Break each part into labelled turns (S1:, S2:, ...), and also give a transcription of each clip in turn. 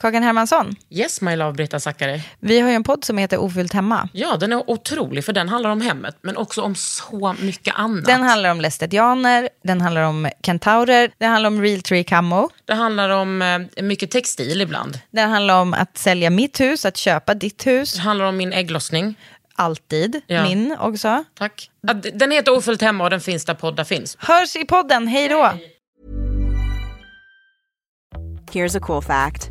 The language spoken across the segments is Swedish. S1: Kakan Hermansson,
S2: Yes my love Britta Zackari.
S1: vi har ju en podd som heter Ofyllt hemma.
S2: Ja, den är otrolig för den handlar om hemmet men också om så mycket annat.
S1: Den handlar om lästetianer, den handlar om kentaurer, den handlar om real tree camo,
S2: det handlar om eh, mycket textil ibland.
S1: den handlar om att sälja mitt hus, att köpa ditt hus,
S2: Det handlar om min ägglossning.
S1: alltid,
S2: Ja.
S1: min också.
S2: Tack. Ja, d- Den heter Ofullt hemma och den finns där poddar finns.
S1: Hörs i podden, hej då!
S3: Here's a cool fact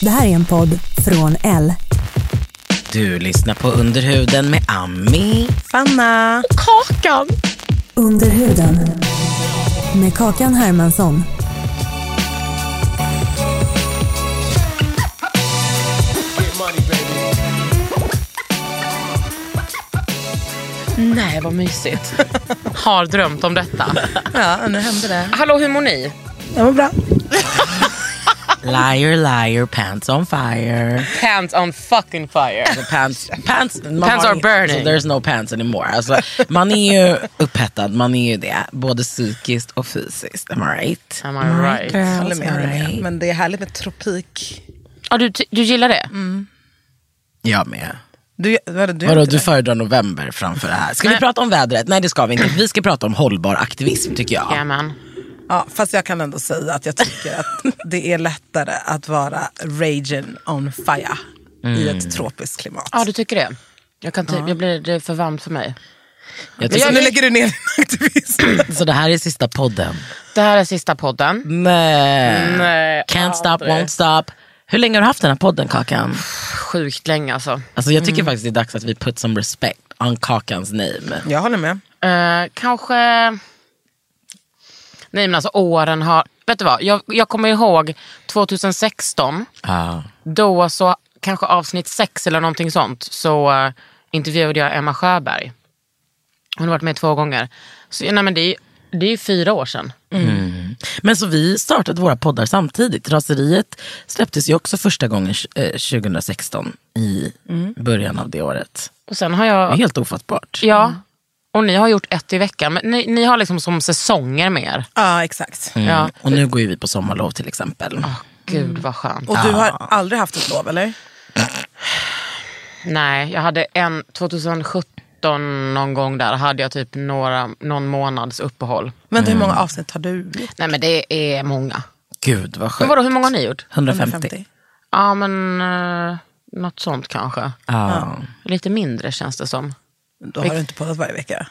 S4: Det här är en podd från L.
S5: Du lyssnar på Underhuden med Ami, Fanna och Kakan.
S4: Under huden. Med Kakan Hermansson.
S2: Nej, vad mysigt. Har drömt om detta.
S6: Ja, nu hände det.
S2: Hallå, hur mår ni?
S6: Det var bra.
S5: Liar, liar, pants on fire.
S2: Pants on fucking fire.
S5: Alltså, pants pants, man
S2: Pants
S5: har
S2: are
S5: ing-
S2: burning.
S5: So there's no pants anymore. Alltså, man är ju upphettad, man är ju det. Både psykiskt och fysiskt. Am I right?
S2: Am I right?
S6: Jag håller med, jag håller
S5: Right.
S6: med. Men det är härligt med tropik.
S2: Ja, du, du gillar det?
S6: Mm.
S5: Jag med.
S6: Du, vadå, du,
S5: Vadå,
S6: inte
S5: du
S6: det?
S5: föredrar november framför det här? Ska vi
S2: Nej.
S5: prata om vädret? Nej det ska vi inte. Vi ska prata om hållbar aktivism tycker jag.
S2: Jajamän.
S6: ja, fast jag kan ändå säga att jag tycker att det är lättare att vara raging on fire i
S5: Mm.
S6: ett tropiskt klimat.
S2: Ja, du tycker det? Jag kan typ, jag blir, det är för varmt för mig.
S5: jag
S6: Så
S5: tycker,
S6: nu lägger du ner din aktivism.
S5: Så det här är sista podden.
S2: Det här är sista podden.
S5: Nej.
S2: Nej,
S5: Can't stop,
S2: aldrig.
S5: won't stop. Hur länge har du haft den här podden Kakan?
S2: Sjukt länge alltså.
S5: Alltså jag tycker faktiskt det är dags att vi put some respect on Kakans name.
S6: Jag håller med.
S2: Eh, kanske... Nej men alltså åren har... Vet du vad, jag, jag kommer ihåg 2016. Ah.
S5: Ja.
S2: Då så, kanske avsnitt sex eller någonting sånt, så eh, intervjuade jag Emma Sjöberg. Hon har varit med två gånger. Så, nej, men det, är, det är fyra år sedan.
S5: Men så vi startade våra poddar samtidigt. Raseriet släpptes ju också första gången eh, 2016 i början av det året.
S2: Och sen har
S5: Det är
S2: jag...
S5: helt ofattbart.
S2: Mm. Ja. Och ni har gjort ett i veckan. Men ni, ni har liksom som säsonger med er.
S6: Ja, exakt.
S2: Ja.
S5: Mm.
S2: Ah.
S5: Och nu går ju vi på sommarlov till exempel.
S2: Gud vad skönt.
S6: Och du har aldrig haft ett lov, eller?
S2: Nej, jag hade en 2017 någon gång där hade jag typ några, någon månads uppehåll.
S6: Vänta,
S5: Mm.
S6: hur många avsnitt har du?
S2: Nej men det är många.
S5: Gud vad
S2: Men
S5: skönt.
S2: vadå, hur många har ni gjort?
S5: 150.
S6: 50.
S2: Ja men uh, något sånt kanske.
S5: Ja.
S2: Lite mindre känns det som.
S6: Då har du inte poddat varje vecka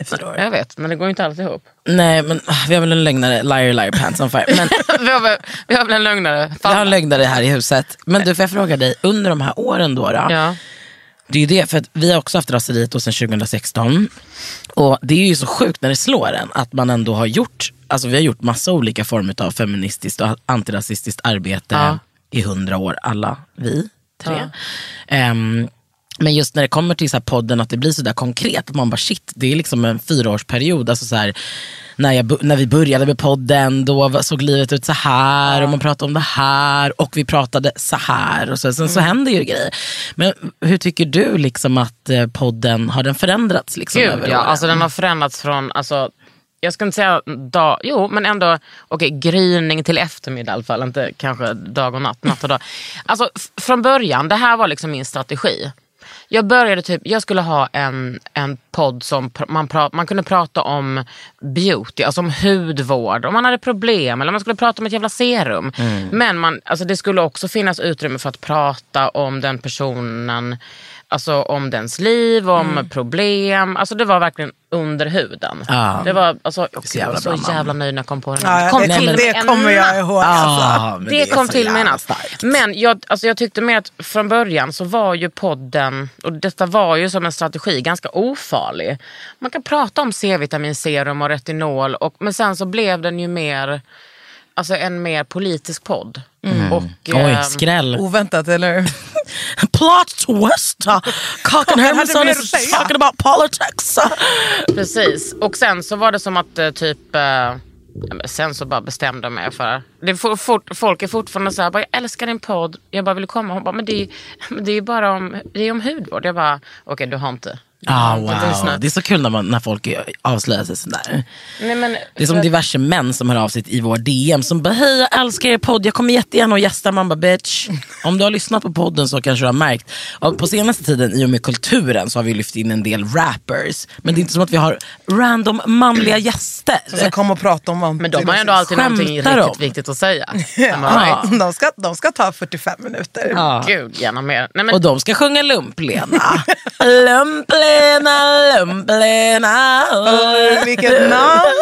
S6: i fyra år.
S2: Jag vet, men det går ju inte alls ihop.
S5: Nej men ah, vi har väl en lögnare, liar liar pants on fire. Men
S2: vi, har väl, vi har väl en lögnare.
S5: vi har en
S2: Fan.
S5: lögnare här i huset. Men du får jag fråga dig, under de här åren då, då
S2: Ja.
S5: Det är ju det, för att vi har också haft raseriet då sedan 2016. Och det är ju så sjukt när det slår en att man ändå har gjort, alltså vi har gjort massa olika former av feministiskt och antirasistiskt arbete
S2: Ja.
S5: i hundra år, alla vi tre. Ehm, men just när det kommer till så här podden, att det blir så där konkret, att man bara shit, det är liksom en fyraårsperiod. Alltså så här, när, jag, bo- när vi började med podden, då var- såg livet ut så här och man pratade om det här och vi pratade så här. Och så, sen så händer ju grejer. Men hur tycker du liksom att eh, podden, har den förändrats? Liksom
S2: Gud
S5: över
S2: ja,
S5: åren?
S2: alltså den har förändrats från, alltså, jag ska inte säga dag, jo men ändå, okej gryning till eftermiddag i alla fall, inte kanske dag och natt, natt och dag. Alltså f- från början, det här var liksom min strategi. Jag började typ, jag skulle ha en, en podd som pr- man, pra, man kunde prata om beauty, alltså om hudvård, om man hade problem eller om man skulle prata om ett jävla serum. Men man, alltså det skulle också finnas utrymme för att prata om den personen, alltså om dens liv, om problem. Alltså det var verkligen under huden.
S5: Ja.
S2: Det var alltså, jag
S5: jävla
S2: var så
S5: bra namn.
S2: jävla nöjd när jag kom på den.
S6: Ja,
S2: kom
S6: jag vet,
S2: till mig
S6: det
S2: en
S6: kommer
S2: natt.
S6: jag ihåg. Alltså.
S5: Ah, men
S2: Det,
S5: är
S2: kom
S5: så
S2: till mig
S5: jävla
S2: natt.
S5: starkt.
S2: Men jag, alltså jag tyckte med att från början så var ju podden, och detta var ju som en strategi, ganska ofarlig. Man kan prata om C-vitaminserum och retinol, och, men sen så blev den ju mer alltså, en mer politisk podd. Och,
S5: Oj,
S2: ehm,
S5: skräll.
S6: Oväntat, eller hur?
S5: Plot twist! Kakan Hermansson
S6: mer
S5: is
S6: att säga?
S5: talking about politics. Ah,
S2: Precis, och sen så var det som att eh, typ eh, ja, men Sen så bara bestämde jag mig för det. är For, fort- folk är fortfarande så här, bara, jag älskar din podd, jag bara vill komma. Hon bara, men det är ju men det är ju bara om, det är om hudvård. Jag bara, okej du har inte. du har
S5: Ah,
S2: inte
S5: wow.
S2: lyssnat."
S5: Det är så kul när, man, när folk avslöjar sig sådär.
S2: Nej, men,
S5: Det är som diverse män som hör av sig i vår DM som bara, hej jag älskar er podd, jag kommer jättegärna och gästa. Man bara, bitch. Om du har lyssnat på podden så kanske du har märkt, och på senaste tiden i och med kulturen så har vi lyft in en del rappers. Men det är inte som att vi har random manliga gäster.
S2: Alltså,
S6: Så kom och prata om vad
S2: men de har ju ändå alltid
S5: Skämtar
S2: någonting
S5: de?
S2: riktigt viktigt att säga. Am I
S6: Ja,
S2: right?
S6: de, ska, de ska ta 45 minuter.
S5: Ja.
S2: Gud, gärna mer. Nej, men,
S5: Och de ska sjunga Lumplena. lumplena, lumplena.
S6: Åh, Vilket namn!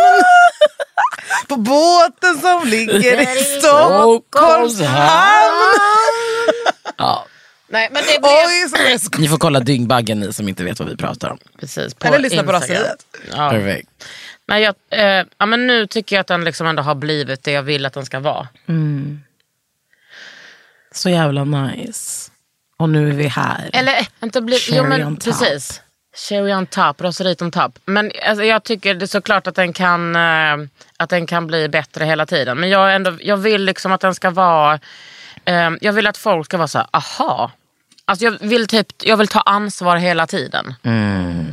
S6: På båten som ligger i Stockholms hamn.
S5: Ja,
S2: nej, men det blev...
S6: Oj, så jag
S5: ni får kolla Dyngbaggen ni som inte vet vad vi pratar om.
S2: Precis,
S6: Eller lyssna på
S2: Instagram.
S6: raseriet.
S2: Ja.
S5: Perfekt.
S2: Nej, jag, eh, ja, men nu tycker jag att den liksom ändå har blivit det jag vill att den ska vara.
S5: Så jävla nice. Och nu är vi här.
S2: Eller inte bli, jo,
S5: Cherry
S2: men,
S5: on top.
S2: Precis. Cherry on top, roseriet on top. Men alltså, jag tycker det är såklart att den, kan, eh, att den kan bli bättre hela tiden. Men jag, är ändå, jag vill liksom att den ska vara... Eh, jag vill att folk ska vara så här, aha. Alltså, jag, vill typ, jag vill ta ansvar hela tiden.
S5: Mm.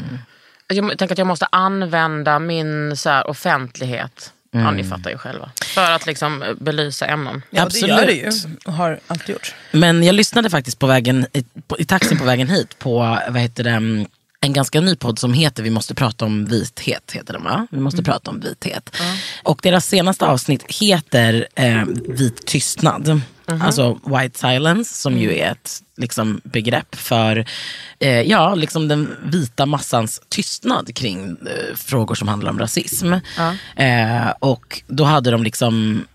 S2: Jag må- tänker att jag måste använda min så här, offentlighet. Ja,
S5: Mm.
S2: ni fattar ju själva. För att liksom eh, belysa ämnen.
S6: Ja, det gör det ju.
S5: Absolut.
S6: Och har alltid gjort.
S5: Men jag lyssnade faktiskt på vägen, i, på, i taxin på vägen hit på vad heter det, mm, en ganska ny podd som heter Vi måste prata om vithet. Heter den, va? Vi måste prata om vithet. Och deras senaste avsnitt heter eh, Vit tystnad. Alltså white silence som ju är ett liksom, begrepp för eh, ja, liksom den vita massans tystnad kring eh, frågor som handlar om rasism. Eh, och då hade de liksom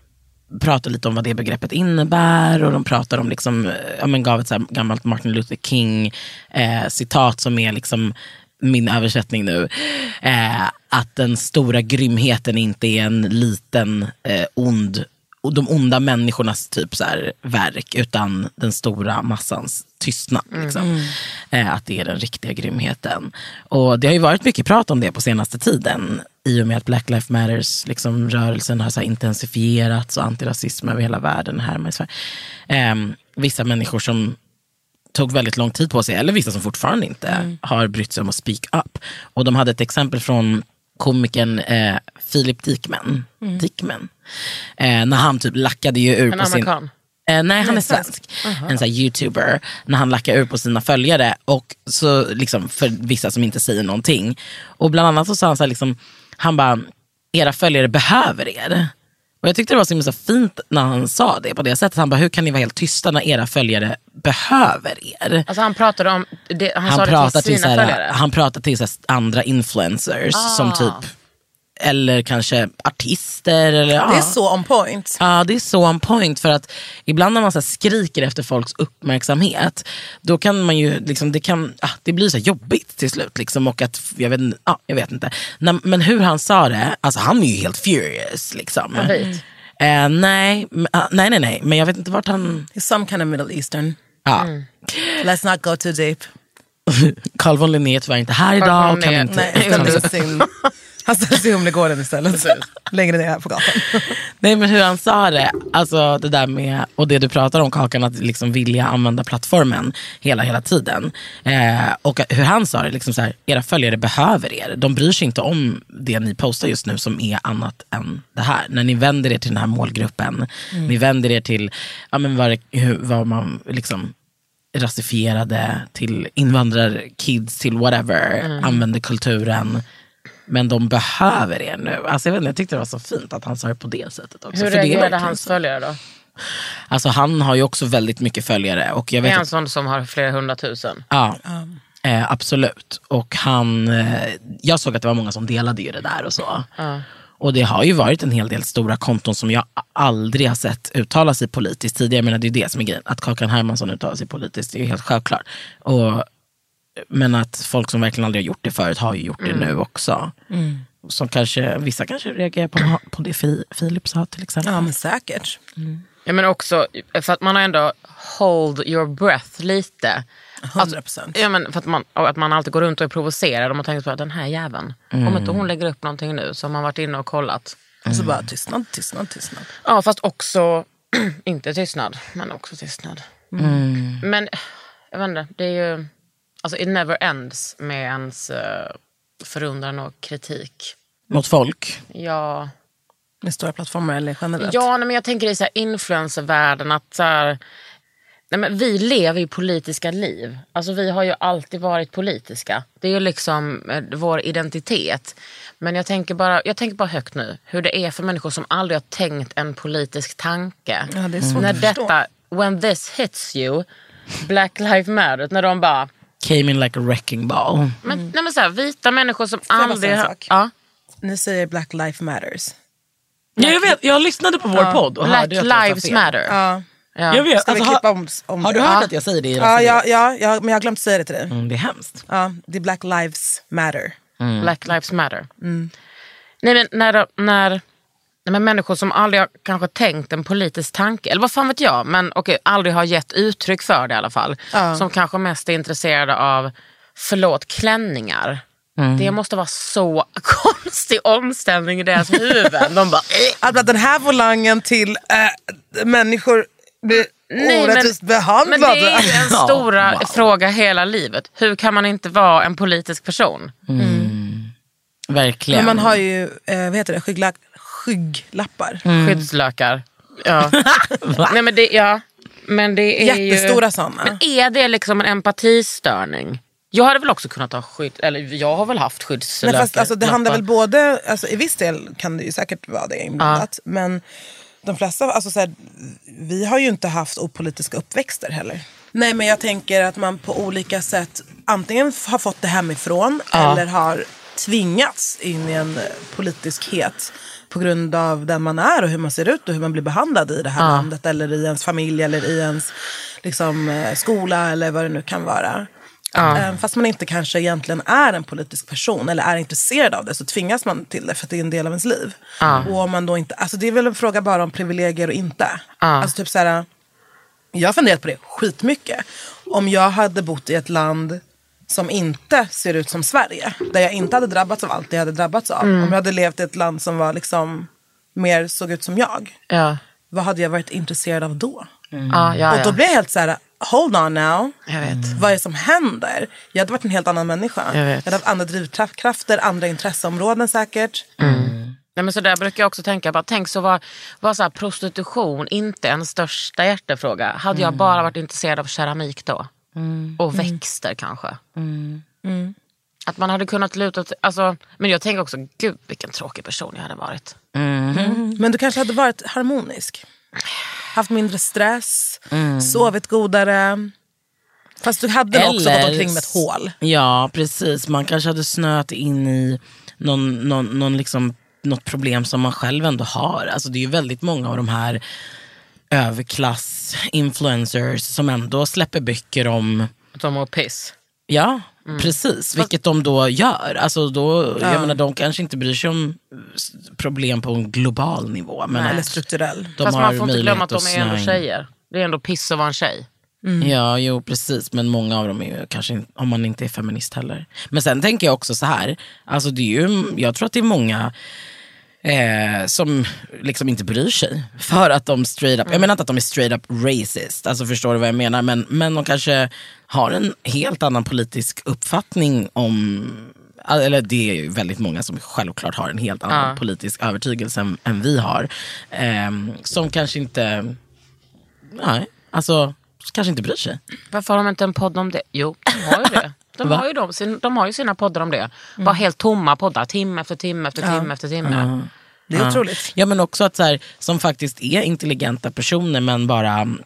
S5: pratar lite om vad det begreppet innebär och de pratar om, liksom, eh, ja, men gav ett så här gammalt Martin Luther King eh, citat som är liksom min översättning nu. Eh, att den stora grymheten inte är en liten eh, ond och de onda människornas typ så här verk utan den stora massans tystnad.
S2: Mm.
S5: Liksom. Eh, att det är den riktiga grymheten. Och det har ju varit mycket prat om det på senaste tiden i och med att Black Lives Matters liksom, rörelsen har så här, intensifierats och antirasism över hela världen här med Sverige. Ehm, vissa människor som tog väldigt lång tid på sig, eller vissa som fortfarande inte
S2: Mm.
S5: har brytt sig om att speak up. Och de hade ett exempel från komikern eh, Philip Dickman, Dickman. Eh, när han typ lackade ju ur
S2: Mm. En
S5: på sin...
S2: amerikan?
S5: Eh, nej, han är svensk. En sån här youtuber. När han lackar ur på sina följare. Och så liksom för vissa som inte säger någonting. Och bland annat så sa han så här, liksom, han bara, era följare behöver er. Och jag tyckte det var så himla så fint när han sa det på det sättet. Han bara, hur kan ni vara helt tysta när era följare behöver er?
S2: Alltså han pratade om, det, han,
S5: Han
S2: sa det
S5: pratar
S2: till
S5: till,
S2: sina
S5: så här,
S2: följare. Ah.
S5: han alltså, pratar till så här, andra influencers som typ, eller kanske artister. Eller,
S6: Det är så on point.
S5: Ja, det är så on point. För att ibland när man så här skriker efter folks uppmärksamhet, då kan man ju, liksom, det, kan, ah, det blir så här jobbigt till slut. Liksom, och att, jag, vet, ah, jag vet inte. När, men hur han sa det, alltså han är ju helt furious. Liksom.
S2: Jag vet.
S5: Eh, nej, men, ah, nej, nej, nej, men jag vet inte vart han...
S6: He's some kind of middle eastern.
S5: Ja.
S6: Mm. Let's not go too deep.
S5: Carl von Linné är tyvärr inte här
S2: Carl
S5: idag.
S2: von
S5: och Kan
S2: Linné,
S5: inte,
S6: Nej,
S5: liksom,
S6: utan det är sin- han ställer sig i Humlegården istället. Längre ner här på gatan.
S5: Nej men hur han sa det, alltså det där med, och det du pratar om Kakan, att liksom vilja använda plattformen hela, hela tiden. Eh, och hur han sa det, liksom så här, era följare behöver er. De bryr sig inte om det ni postar just nu som är annat än det här. När ni vänder er till den här målgruppen, ni vänder er till, ja men vad, det- hur, vad man liksom rasifierade, till invandrarkids, till whatever,
S2: Mm.
S5: använder kulturen. Men de behöver er nu. Alltså jag, vet inte, jag tyckte det var så fint att han sa det på det sättet också.
S2: Hur
S5: för det är
S2: reagerade
S5: verkligen
S2: hans
S5: så.
S2: följare då?
S5: Alltså han har ju också väldigt mycket följare. Och jag
S2: Det
S5: vet
S2: är
S5: att
S2: en sån som har flera hundratusen.
S5: Ja, eh, absolut. Och han, eh, jag såg att det var många som delade ju det där och så. Och det har ju varit en hel del stora konton som jag a- aldrig har sett uttala sig politiskt tidigare. Men det är ju det som är grejen, att Kakan Hermansson uttalar sig politiskt, det är ju helt självklart. Mm. Och, men att folk som verkligen aldrig har gjort det förut har ju gjort det nu också. Som kanske, vissa kanske reagerar på, på det Fi- Filip sa till exempel.
S6: Ja, men säkert.
S2: Ja, men också för att man har ändå hold your breath lite. Alltså,
S6: 100
S2: Ja, men för att man, och att man alltid går runt och är provocerad och man tänker på att den här jäveln,
S5: Mm.
S2: om inte hon lägger upp någonting nu så har man varit inne och kollat.
S6: Och så bara tystnad, tystnad, tystnad.
S2: Ja, fast också, inte tystnad, men också tystnad.
S5: Mm.
S2: Men jag vet inte, det är ju, alltså it never ends med ens eh, förundran och kritik.
S5: Mot folk.
S2: Ja,
S6: Med stora plattformar eller generellt.
S2: ja nej, men jag tänker i så här influencervärlden att så här, nej, men vi lever ju politiska liv. Alltså vi har ju alltid varit politiska. Det är ju liksom eh, vår identitet. Men jag tänker, bara, jag tänker bara högt nu hur det är för människor som aldrig har tänkt en politisk tanke. Mm.
S6: Ja, det är svårt
S2: när
S6: att förstå.
S2: detta, when this hits you, Black Lives Matter, när de bara
S5: Came in like a wrecking ball.
S2: men, nej, men så här, vita människor som
S6: Mm. jag bara
S2: aldrig
S6: säga en
S2: har...
S6: sak?
S2: Ja.
S6: Ni säger Black Life Matters.
S5: Ja, jag vet, jag lyssnade på vår podd och
S2: Black
S5: hörde att jag sa
S2: lives
S5: fel.
S2: matter.
S6: Ja,
S2: Ja.
S5: Jag vet,
S6: Ska vi
S5: alltså, har,
S6: klippa om, om
S5: har du
S6: det?
S5: hört
S6: Ja.
S5: att jag säger det i
S6: Ja,
S5: avsnittet?
S6: ja, ja, ja, men jag har glömt säga det till dig.
S5: Mm, det är hemskt.
S6: Ja, det är Black Lives Matter.
S5: Mm.
S2: Black lives matter.
S6: Mm.
S2: Nej, men när, de- när, nej, men människor som aldrig har kanske tänkt en politisk tanke, eller vad fan vet jag, men okej, aldrig har gett uttryck för det i alla fall. Som kanske mest är intresserade av, förlåt, klänningar.
S5: Mm.
S2: Det måste vara så konstig omställning i deras huvuden. De bara, eh.
S6: Att bara den här volangen till eh, människor blir
S2: Mm. Nej, men-
S6: orättvist behandlade.
S2: Men det är ju en
S5: Ja,
S2: stora
S5: wow.
S2: fråga hela livet. Hur kan man inte vara en politisk person?
S5: Verkligen.
S6: Men man har ju eh, vad heter det, skyggla- skygglappar.
S2: Mm.
S5: Mm.
S2: Skyddslökar. Ja. Nej, men det, ja. men det är
S6: Jättestora
S2: ju...
S6: såna.
S2: Men är det liksom en empatistörning? Jag hade väl också kunnat ha skydd, eller jag har väl haft
S6: Nej,
S2: skyddslökar.
S6: fast, alltså, det handlar väl
S2: lappar.
S6: både, alltså, i viss del kan det ju säkert vara det inblandat. Men de flesta, alltså, så här, vi har ju inte haft opolitiska uppväxter heller. Nej men jag tänker att man på olika sätt antingen f- har fått det hemifrån eller har tvingats in i en eh, politiskhet på grund av den man är och hur man ser ut och hur man blir behandlad i det här landet eller i ens familj eller i ens liksom, eh, skola eller vad det nu kan vara. Eh, Fast man inte kanske egentligen är en politisk person eller är intresserad av det så tvingas man till det för att det är en del av ens liv. Och om man då inte, alltså det är väl en fråga bara om privilegier och inte. Alltså typ så här, jag har funderat på det skitmycket. Om jag hade bott i ett land som inte ser ut som Sverige, där jag inte hade drabbats av allt jag hade drabbats av. Om jag hade levt i ett land som var liksom mer såg ut som jag,
S2: Ja.
S6: vad hade jag varit intresserad av då?
S2: Ja,
S5: Ah,
S2: ja,
S6: Mm. Och då
S2: ja.
S6: blir jag helt så här, hold on now. Mm.
S2: Jag vet.
S6: Vad är det som händer? Jag hade varit en helt annan människa.
S2: Jag vet.
S6: hade haft andra drivkrafter, andra intresseområden säkert.
S5: Mhm.
S2: Nej, men så där brukar jag också tänka. Bara, tänk så var, var så här, prostitution inte en största hjärtefråga. Hade
S6: Mm.
S2: jag bara varit intresserad av keramik då? Och växter kanske.
S6: Mm.
S2: Mm. Att man hade kunnat luta till, alltså, Men jag tänker också, gud vilken tråkig person jag hade varit.
S6: Mm. Men du kanske hade varit harmonisk. Haft mindre stress,
S5: Mm.
S6: sovit godare. Fast du hade nog också gått omkring med ett hål.
S5: Ja, precis. Man kanske hade snöat in i någon, någon, någon liksom, något problem som man själv ändå har. Alltså, det är ju väldigt många av de här överklass-influencers som ändå släpper böcker om
S2: Att de mår piss.
S5: Ja,
S6: Mm.
S5: precis. Vilket de då gör. Alltså då, jag menar, de kanske inte bryr sig om s- problem på en global nivå. Men
S2: Nej.
S6: Eller
S5: att
S6: strukturell.
S5: de
S2: Fast
S5: har
S2: man får inte
S5: möjlighet
S2: glömma att de
S5: att
S2: är ändå
S5: snöa in.
S2: tjejer. Det är ändå piss att vara en tjej.
S5: Ja, jo precis. Men många av dem är ju kanske, in- om man inte är feminist heller. Men sen tänker jag också så här, alltså det är ju, jag tror att det är många eh, som liksom inte bryr sig. För att de straight up, jag menar inte att de är straight up racist, alltså förstår du vad jag menar? Men, men de kanske har en helt annan politisk uppfattning om eller det är ju väldigt många som självklart har en helt annan politisk övertygelse än, än vi har. Ehm, som kanske inte, nej, alltså kanske inte bryr sig.
S2: Varför har de inte en podd om det? Jo, de har ju det. De,
S5: Va?
S2: har ju, de, sin, de har ju sina poddar om det.
S6: Mm.
S2: Bara helt tomma poddar, timme efter timme efter timme efter timme.
S6: Det är otroligt.
S5: Ja men också att så här, som faktiskt är intelligenta personer men bara mm,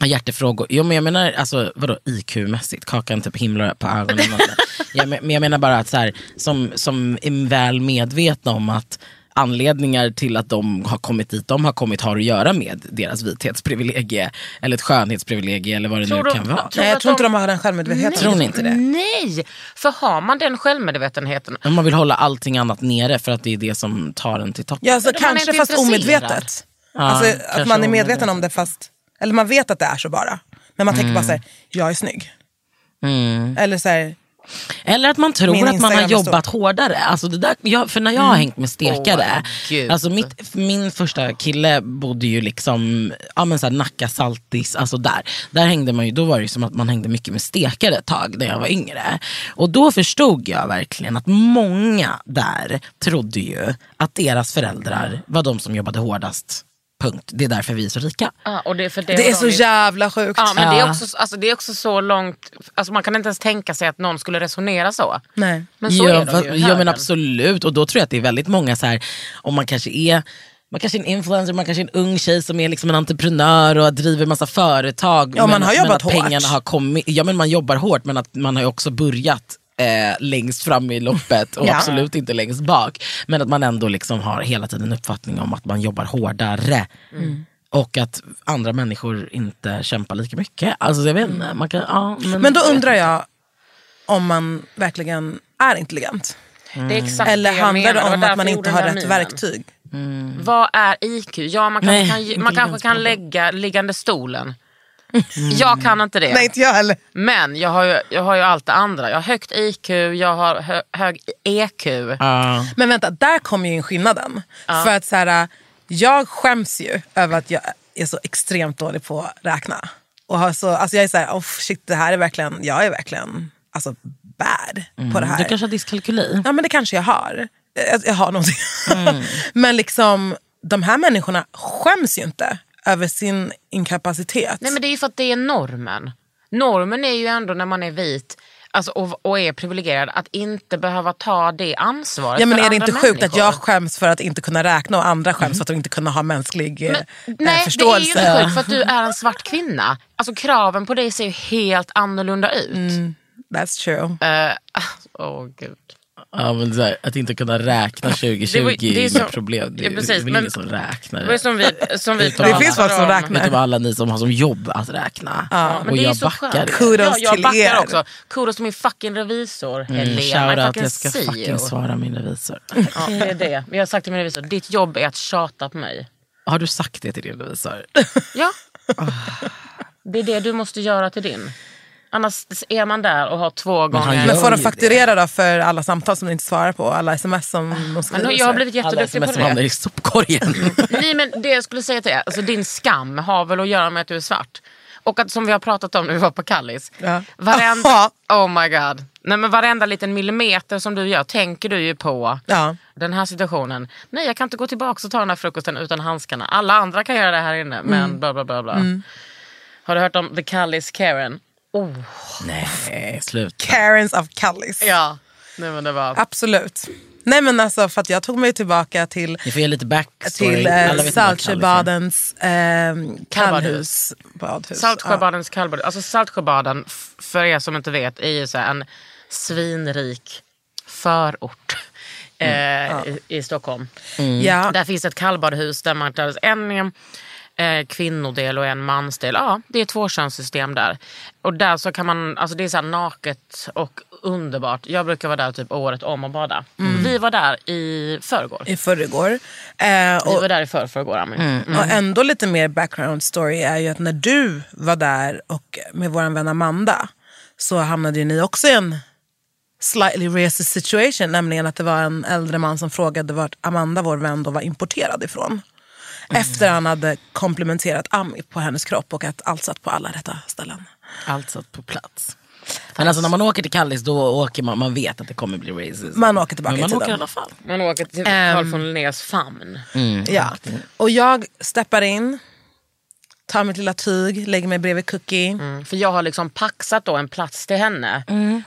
S5: har hjärtefrågor. Jo men jag menar alltså vadå IQ-mässigt, kakan typ himlar på ögonen. och så. jag, men men jag menar bara att så här, som, som är väl medvetna om att anledningar till att de har kommit dit de har kommit har att göra med deras vithetsprivilegie eller ett skönhetsprivilegie eller vad det
S2: Tror
S5: nu
S2: du-
S5: kan vara.
S2: tror-
S6: Nej, jag tror inte
S2: att
S6: de har den självmedvetenheten.
S5: Tror ni inte det?
S2: Nej, för har man den självmedvetenheten
S5: Men Man vill hålla allting annat nere för att det är det som tar en till toppen.
S6: Ja, alltså,
S2: Men om man
S6: kanske
S2: inte är
S6: fast
S2: intresserad.
S6: omedvetet.
S5: Ja,
S6: alltså,
S5: kanske
S6: att man är medveten
S5: omedvetet. Mm.
S6: om det fast, eller man vet att det är så bara. Men man tänker bara så här, jag är snygg. Eller så här,
S5: Eller att man tror
S6: Min
S5: att man har
S6: Instagram är Mm. stor.
S5: jobbat hårdare. Alltså det där, jag, för när jag har hängt med stekare,
S2: Åh, gud.
S5: alltså mitt, min första kille bodde ju liksom, ja men så här Nacka, Saltis, alltså där. Där hängde man ju, då var det ju som att man hängde mycket med stekare ett tag när jag var yngre. Och då förstod jag verkligen att många där trodde ju att deras föräldrar var de som jobbade hårdast. Punkt. Det är därför vi är så rika.
S2: Ja, och det, för det,
S6: det är
S2: har
S6: så
S2: de ju-
S6: jävla sjukt.
S2: Ja, men det, är
S5: Ja.
S2: också, alltså, det är också så långt, alltså, man kan inte ens tänka sig att någon skulle resonera så.
S6: Nej.
S2: Men så
S5: ja,
S2: är
S5: va-
S2: de ju.
S5: Ja men
S2: högern.
S5: absolut, och då tror jag att det är väldigt många så här, om man kanske är man kanske är en influencer, man kanske är en ung tjej som är liksom en entreprenör och driver massa företag.
S6: Ja, man har
S5: men
S6: jobbat
S5: att pengarna
S6: hårt.
S5: har kommit, Ja men man jobbar hårt men att man har ju också börjat eh, längst fram i loppet och
S6: Ja.
S5: absolut inte längst bak. Men att man ändå liksom har hela tiden en uppfattning om att man jobbar hårdare. Och att andra människor inte kämpar lika mycket. Alltså jag vet inte. Man kan, ja, men,
S6: Men då undrar jag om man verkligen är intelligent.
S2: Det är exakt
S6: Eller
S2: det jag
S6: handlar
S2: menar,
S6: det
S2: var
S6: om
S2: därför
S6: att man
S2: jag
S6: inte
S2: gjorde
S6: har
S2: den här
S6: rätt
S2: minen.
S6: verktyg?
S2: Vad är IQ? Ja, man kanske
S5: Nej,
S2: kan,
S5: inte
S2: man kanske kan
S5: intelligenspodden.
S2: lägga liggande stolen. Jag kan inte det.
S6: Mm. Nej inte jag heller.
S2: Men jag har, ju, jag har ju allt det andra. Jag har högt IQ, jag har hö, hög E EQ.
S5: Ja.
S6: Men vänta, där kommer ju in skillnaden. För att så här, jag skäms ju över att jag är så extremt dålig på att räkna. Och har så, alltså jag är så här, oh shit det här är verkligen, jag är verkligen alltså, bad
S2: Mm.
S6: på det här.
S5: Du kanske har dyskalkyli?
S6: Ja men det kanske jag har. Eh, Jag, jag har någonting.
S2: Mm.
S6: men liksom, de här människorna skäms ju inte över sin inkapacitet.
S2: Nej men det är ju för att det är normen. Normen är ju ändå när man är vit alltså, och, och är privilegierad att inte behöva ta det ansvaret
S6: Ja, men
S2: för
S6: är det inte
S2: andra
S6: sjukt att
S2: människor. Mm.
S6: jag skäms för att inte kunna räkna och andra skäms för att de inte kunna ha mänsklig eh, eh,
S2: Nej,
S6: förståelse?
S2: det är ju inte sjukt för att du är en svart kvinna. Alltså kraven på dig ser ju helt annorlunda ut.
S6: Mm. That's true.
S2: Eh, ah, åh, gud.
S5: Ja, men så här, att inte kunna räkna 2020
S2: Det var- det är
S5: är inget
S2: så-
S5: problem. Det
S2: ja,
S5: är
S2: precis,
S5: det är väl
S2: men-
S5: ingen som räknar.
S2: Det var ju som vi, som vi
S5: Det
S2: pratade
S6: finns folk som
S2: om.
S6: räknar.
S5: Utav alla ni som har som jobb att räkna.
S2: Ja, men
S5: och
S2: det är
S5: jag
S2: så
S5: backar
S2: skönt.
S5: det.
S6: Kudos
S2: ja, jag
S6: till
S2: backar
S6: er.
S2: också. Kudos till min fucking revisor Helena.
S5: Shoutout,
S2: fucking
S5: Mm, jag ska
S2: CEO.
S5: fucking svara min revisor.
S2: Ja, det är det. Men jag har sagt till min revisor, ditt jobb är att tjata på mig.
S5: Har du sagt det till din revisor?
S2: Ja.
S5: Ah.
S2: Det är det du måste göra till din. Annars är man där och har två
S5: han
S2: gånger...
S5: gör-
S6: Men får
S5: ju
S6: de
S5: det.
S6: fakturera då för alla samtal som du inte svarar på? Alla sms som de
S2: Ah, Men
S6: skriver?
S2: nu- jag har blivit
S5: Alla
S2: jätteduktig på
S5: sms
S2: det.
S5: hamnar i sopkorgen.
S2: Nej men det jag skulle säga till er, alltså din skam har väl att göra med att du är svart. Och att som vi har pratat om när vi var på Kallis.
S6: Ja.
S2: Varenda, oh my god. Nej men varenda liten millimeter som du gör tänker du ju på
S6: Ja.
S2: den här situationen. Nej jag kan inte gå tillbaka och ta den här frukosten utan handskarna. Alla andra kan göra det här inne men bla bla bla. bla. Har du hört om The Kallis Karen? Oh.
S5: Nej, slut.
S6: Karens of Kallis.
S2: Ja. Nej men det var...
S6: Absolut. Nej men alltså för att jag tog mig tillbaka till
S5: Ni får ge lite backstory.
S6: till
S5: Alla vet
S6: eh,
S5: inte vad Kalle är.
S6: Saltsjöbadens eh, kallhus. Badhus.
S2: Saltsjöbadens kallbad. Alltså Saltsjöbaden, f- för er som inte vet, är ju så här en svinrik förort eh, i, i Stockholm.
S6: Ja. Ja.
S2: Där finns ett kallbadhus där man tar en eh, kvinnodel och en mansdel. Ja, det är tvåkönssystem där. Och där så kan man, alltså det är så här naket och underbart. Jag brukar vara där typ året om och bada. Vi var där i förrgår.
S6: Mm. I förrgår. Eh,
S2: Vi
S6: och, Mm.
S2: var där i förrförrgår Amin.
S6: och ändå lite mer background story är ju att när du var där och med vår vän Amanda så hamnade ju ni också i en slightly racist situation. Nämligen att det var en äldre man som frågade vart Amanda, vår vän, då var importerad ifrån. Efter han hade komplimenterat Ami på hennes kropp och att allt satt på alla rätta ställen.
S5: Allt satt på plats. Men alltså när man åker till Kallis då åker man, man vet att det kommer bli racism.
S6: Man åker tillbaka
S5: Men man
S6: i
S5: åker i
S6: tiden.
S5: alla fall.
S2: Man åker till
S6: Ehm.
S2: Carl von Linnés famn.
S6: Ja. Och jag steppar in, tar mitt lilla tyg, lägger mig bredvid Cookie.
S2: Mm. För jag har liksom paxat då en plats till henne.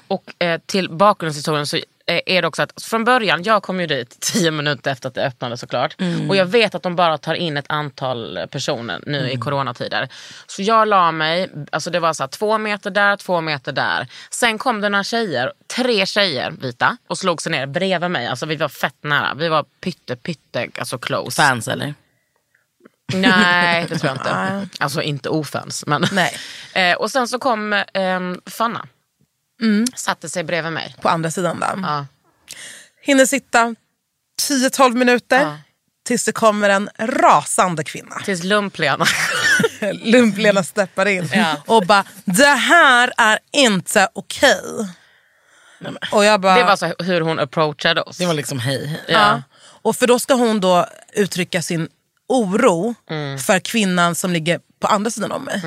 S2: Och eh, till bakgrundshistorien så eh, är det också att från början, jag kom ju dit tio minuter efter att det öppnade såklart. Och jag vet att de bara tar in ett antal personer nu i coronatider. Så jag la mig, alltså det var så här, två meter där, två meter där. Sen kom det några tjejer, tre tjejer vita och slog sig ner bredvid mig. Alltså vi var fett nära, vi var pytte pytte alltså close.
S5: Fans eller?
S2: Nej, det tror jag inte. Alltså inte ofens. Men.
S6: Nej.
S2: Eh, och sen så kom ehm, Fanna.
S6: Mm.
S2: Satte sig bredvid mig.
S6: på andra sidan där.
S2: Ja.
S6: Hinner sitta 10-12 minuter
S2: Ja.
S6: tills det kommer en rasande kvinna.
S2: Tills lumplena.
S6: Lump-Lena steppar in
S2: Ja.
S6: och bara, det här är inte okej. Och jag bara,
S2: Det var så hur hon approachade oss.
S5: Det var liksom hej. hej.
S2: ja.
S6: Och för då ska hon då uttrycka sin oro för kvinnan som ligger på andra sidan om mig.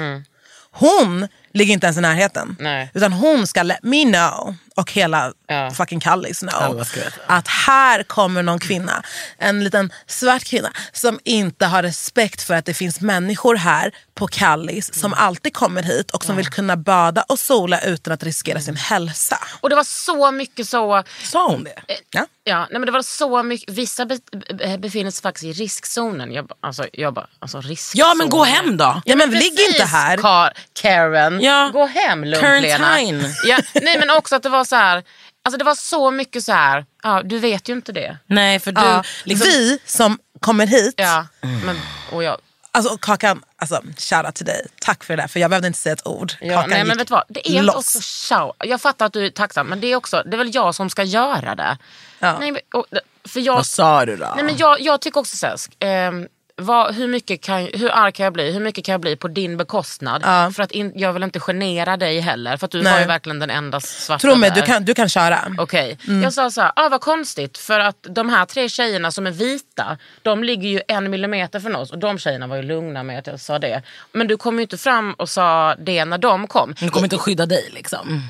S6: Hon ligger inte ens i närheten.
S2: Mm. Nej.
S6: Utan hon ska let me know och hela
S2: Ja.
S6: fucking Kallis know
S5: Alla ska veta.
S6: att här kommer någon kvinna, en liten svart kvinna som inte har respekt för att det finns människor här på Kallis
S2: Mm.
S6: som alltid kommer hit och som vill kunna bada och sola utan att riskera
S2: Mm.
S6: sin hälsa.
S2: Och det var så mycket så...
S5: Sa hon det?
S2: Eh,
S6: Ja.
S2: Ja, nej men det var så mycket, vissa be, be, befinner sig faktiskt i riskzonen. Jag, ba- alltså, jag bara, alltså riskzonen.
S5: Ja men gå hem då.
S6: Ja, men
S2: Precis,
S6: ligg inte här.
S2: Kar- Karen,
S5: Ja.
S2: gå hem Lump-Lena.
S5: Quarantine.
S2: Ja, nej men också att det var så här, alltså det var så mycket så här, ja, du vet ju inte det.
S5: Nej för du,
S6: Ja.
S5: liksom,
S6: Vi som kommer hit
S2: Ja,
S6: Mm.
S2: men, och jag,
S6: Alltså Kakan, alltså, shoutout till dig. Tack för det där, för jag behövde inte säga ett ord.
S2: ja,
S6: kakan
S2: nej, men
S6: gick
S2: vet du vad? Det är inte
S6: loss.
S2: också show. Jag fattar att du är tacksam men det är, också, det är väl jag som ska göra det.
S6: Ja.
S2: Nej, men- och, för jag,
S5: vad sa du då?
S2: nej, men jag, jag tycker också såhär, ehm, vad, hur, mycket kan, hur arg kan jag bli? Hur mycket kan jag bli på din bekostnad?
S6: Ja.
S2: För att in, jag vill inte genera dig heller. För att du
S6: Nej.
S2: var ju verkligen den enda svarta
S6: Tro mig, du
S2: där.
S6: kan, du kan köra.
S2: Okej. Jag sa så här, ah, vad konstigt för att de här tre tjejerna som är vita, de ligger ju en millimeter från oss och de tjejerna var ju lugna med att jag sa det. Men du kom ju inte fram och sa det när de kom.
S5: Hon kommer inte att skydda dig
S6: Mm.
S5: liksom.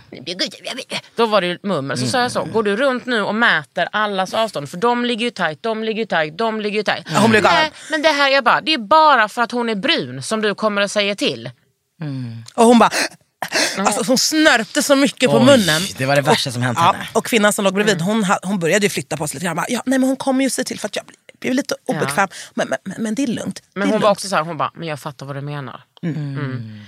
S2: Då var det ju mummel. Så sa jag så, går du runt nu och mäter allas avstånd? För de ligger ju tajt, de ligger ju tajt, de ligger ju tajt.
S6: hon blev galen.
S2: Nej, men det här, jag bara, det är bara för att hon är brun som du kommer att säga till.
S6: Och hon bara... Alltså, hon snörpte så mycket på
S5: Oj,
S6: munnen.
S5: det var det värsta som hänt
S6: Ja,
S5: henne.
S6: och kvinnan som låg
S2: Mm.
S6: bredvid hon, ha- hon började ju flytta på sig lite grann. Bara, Ja, nej, men hon kommer ju se till för att jag blir- blir lite obekväm. Men, men, men, men det är lugnt.
S2: Men
S6: det är
S2: hon
S6: lugnt.
S2: var också så här, hon bara, men jag fattar vad du menar. Mm.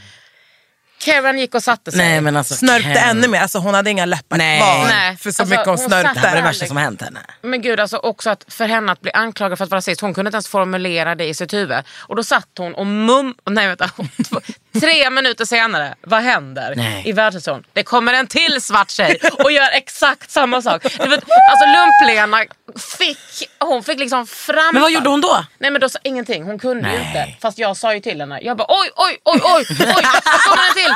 S2: Karen gick och satte sig.
S5: Nej men alltså.
S6: Snörpte
S5: Ken.
S6: ännu mer, alltså hon hade inga läppar
S5: Nej.
S6: kvar.
S2: Nej,
S6: För så
S2: alltså,
S6: mycket hon
S2: hon liksom.
S5: Det
S6: snörpte.
S5: här var det
S2: Alex.
S5: värsta som hänt henne.
S2: Men gud alltså också att för henne att bli anklagad för att vara rasist, hon kunde inte ens formulera det i sitt huvud. Och då satt hon och mum... Nej vänta. Två, tre minuter senare, vad händer
S5: Nej.
S2: i världshistorien? Det kommer en till svart tjej och gör exakt samma sak. Du vet, alltså Lump-Lena fick, hon fick liksom fram...
S5: Men vad gjorde hon då?
S2: Nej men då sa ingenting, hon kunde ju
S5: Nej.
S2: inte. Fast jag sa ju till henne, jag bara oj, oj, oj, oj, oj, här kommer en till!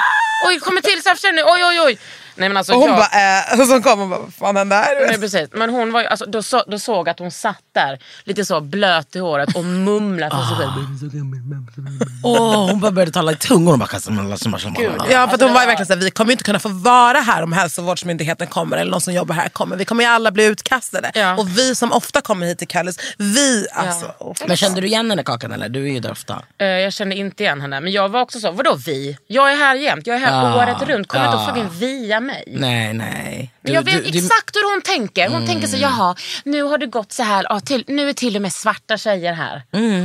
S2: Oj, kommer till svart tjej nu, oj, oj, oj. Nej men alltså
S6: Och hon
S2: jag...
S6: bara, eh, och så kom hon bara, vad fan hände här?
S2: Nej, precis. Men hon var ju, alltså, då, så, då såg jag att hon satt där lite så blöt i håret och mumlade för sig själv.
S5: Ah. Åh, hon bara började tala i tungor. Hon bara kastade som
S6: Ja, för att hon
S2: Alltså,
S6: var ju verkligen såhär, vi kommer ju inte kunna få vara här om hälsovårdsmyndigheten kommer eller någon som jobbar här kommer. Vi kommer ju alla bli utkastade.
S2: Ja.
S6: Och vi som ofta kommer hit till Kallis, vi alltså. åh,
S5: Men kände du igen henne Kakan eller? Du är ju där ofta.
S2: Eh, Jag kände inte igen henne. Men jag var också så, vadå vi? Jag är här jämt, jag är här
S5: Ja,
S2: året runt. Kom inte och
S5: ja.
S2: fucking via mig.
S5: Nej, nej.
S2: Men
S5: Ah. Mm. Du-
S2: jag vet
S5: du- Mm. du-
S2: exakt hur hon tänker. Hon tänker så, jaha, nu har det gått så här. Ja, till, nu är till och med svarta tjejer här.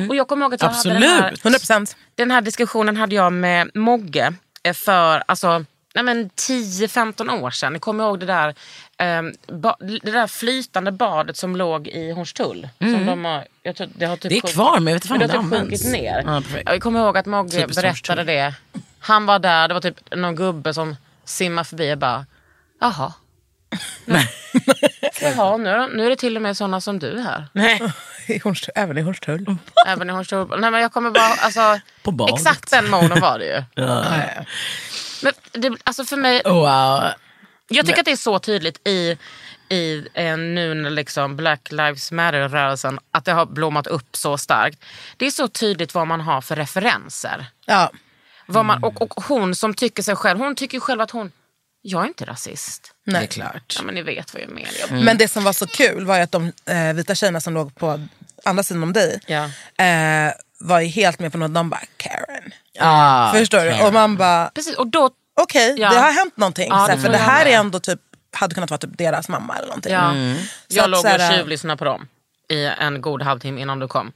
S2: Och jag kommer ihåg att jag hade den här,
S5: Mm. Absolut.
S6: 100%.
S2: den här diskussionen hade jag med Mogge eh, för alltså, nej men 10-15 år sedan. Jag kommer ihåg det där, ehm, ba, det där flytande badet som låg i Hornstull. Som de har, jag tror, det, har typ
S5: Mm. Det är
S2: sjunk-
S5: kvar, men jag vet inte fan
S2: men det har
S5: om
S2: typ
S5: det
S2: sjunkit
S5: används.
S2: ner.
S5: Ja, perfekt.
S2: jag kommer ihåg att Mogge
S5: Typiskt
S2: berättade det. Han var där, det var typ någon gubbe som simmade förbi och bara, jaha.
S5: Nej.
S2: Jaha, nu är, de, nu är det till och med såna som du här.
S5: nej.
S6: I Hornstull, även i Hornstull.
S2: Mm. Även i Hornstull. Nej men jag kommer bara, alltså,
S5: På badet.
S2: exakt den moden var det ju.
S5: Ja. Oh,
S2: Men det, alltså för mig,
S5: Wow.
S2: Jag tycker att det är så tydligt i, i eh, nu när liksom Black Lives Matter-rörelsen, att det har blommat upp så starkt. Det är så tydligt vad man har för referenser.
S6: Ja.
S2: Vad
S5: Mm.
S2: man, och, och hon som tycker sig själv, hon tycker ju själv att hon, jag är inte rasist.
S5: Det är klart.
S2: Ja men ni vet vad jag menar. Jag,
S5: Mm.
S6: Men det som var så kul var ju att de eh, vita tjejerna som låg på andra sidan om dig
S2: Ja.
S6: eh, var ju helt med på något. De bara, Karen.
S5: Ah,
S6: Förstår du? Och man bara,
S2: Precis, och då,
S6: okej,
S2: Ja.
S6: det har hänt någonting.
S2: Ja,
S6: så här,
S2: det
S6: för
S2: får
S6: det
S2: jag
S6: här
S2: med.
S6: är ändå typ hade kunnat vara typ deras mamma eller någonting. Mm.
S2: Ja.
S6: Så
S2: Mm. Jag
S6: att
S2: låg
S6: så här,
S2: och tjuvlyssnade på dem i en god halvtimme innan du kom.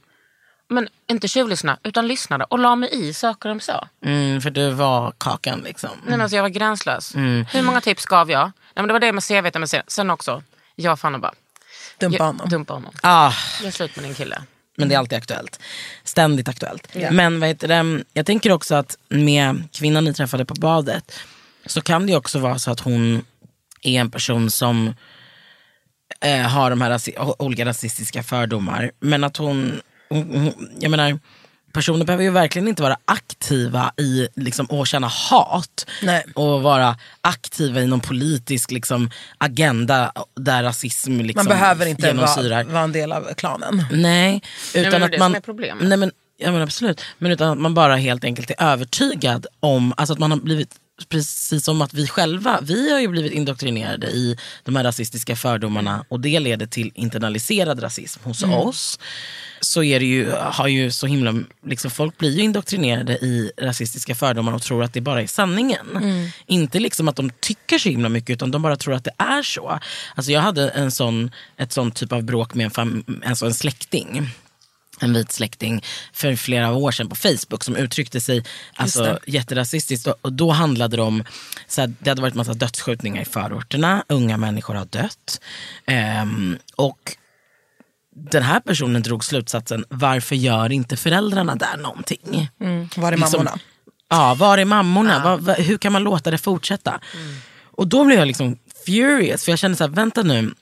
S2: Men inte tjuvlyssna, utan lyssnade och la mig i saker de sa.
S5: Mm, för du var Kakan liksom.
S2: Nej,
S6: Mm.
S2: men alltså jag var gränslös. Hur många tips gav jag? Nej, men det var det med CVt, men sen- sen också, jag fann och bara,
S6: Dumpa
S2: jag-
S6: honom.
S2: dumpa honom.
S5: Ah,
S2: Gör slut med din kille.
S5: men det är alltid aktuellt. Ständigt aktuellt. Men vad heter det? jag tänker också att med kvinnan ni träffade på badet så kan det ju också vara så att hon är en person som eh, har de här rasi- olika rasistiska fördomar. Men att hon, hon, hon, jag menar, personer behöver ju verkligen inte vara aktiva i liksom, och känna hat.
S6: Nej.
S5: Och vara aktiva i någon politisk liksom, agenda där rasism liksom,
S6: Man behöver inte vara,
S5: genomsyrar.
S6: vara en del av klanen.
S2: Mm.
S5: Nej,
S2: men det
S5: utan
S2: är
S5: att
S2: det
S5: man...
S2: som är problemet.
S5: Nej, men, ja, men absolut. Men utan att man bara helt enkelt är övertygad om, alltså att man har blivit, precis som att vi själva, vi har ju blivit indoktrinerade i de här rasistiska fördomarna och det leder till internaliserad rasism hos
S2: Mm.
S5: oss. Så är det ju, har ju så himla, liksom, folk blir ju indoktrinerade i rasistiska fördomar och tror att det bara är sanningen.
S2: Mm.
S5: Inte liksom att de tycker så himla mycket utan de bara tror att det är så. Alltså jag hade en sån, ett sånt typ av bråk med en, fam, alltså en släkting en vit släkting för flera år sedan på Facebook som uttryckte sig alltså, jätterasistiskt. Och, och då handlade det om, så här, det hade varit massa dödsskjutningar i förorterna, unga människor har dött. Ehm, och den här personen drog slutsatsen, varför gör inte föräldrarna där någonting?
S6: Mm. Var är
S5: Liksom-
S6: mammorna?
S5: Ja, var är mammorna? Vad- vad- hur kan man låta det fortsätta? Och då blev jag liksom furious, för jag kände så här, vänta nu.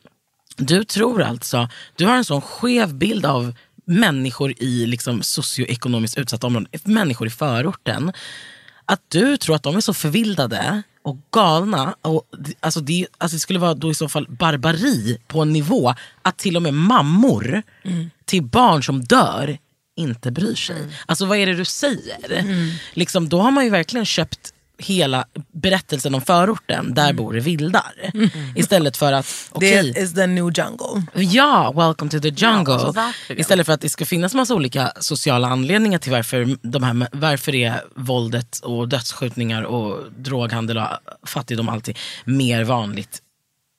S5: Du tror alltså, du har en sån skev bild av människor i liksom socioekonomiskt utsatta områden, människor i förorten. Att du tror att de är så förvildade och galna. Och, alltså det, alltså det skulle vara då i så fall barbari på en nivå att till och med mammor till barn som dör inte bryr sig. Alltså vad är det du säger? Liksom, då har man ju verkligen köpt hela berättelsen om förorten, där bor det vildar. Istället för att, okej,
S6: Det is the new jungle.
S5: Ja, welcome to the jungle.
S2: Ja, verkligen.
S5: Istället för att det ska finnas massa olika sociala anledningar till varför, de här, varför är våldet och dödsskjutningar och droghandel och fattigdom och allting mer vanligt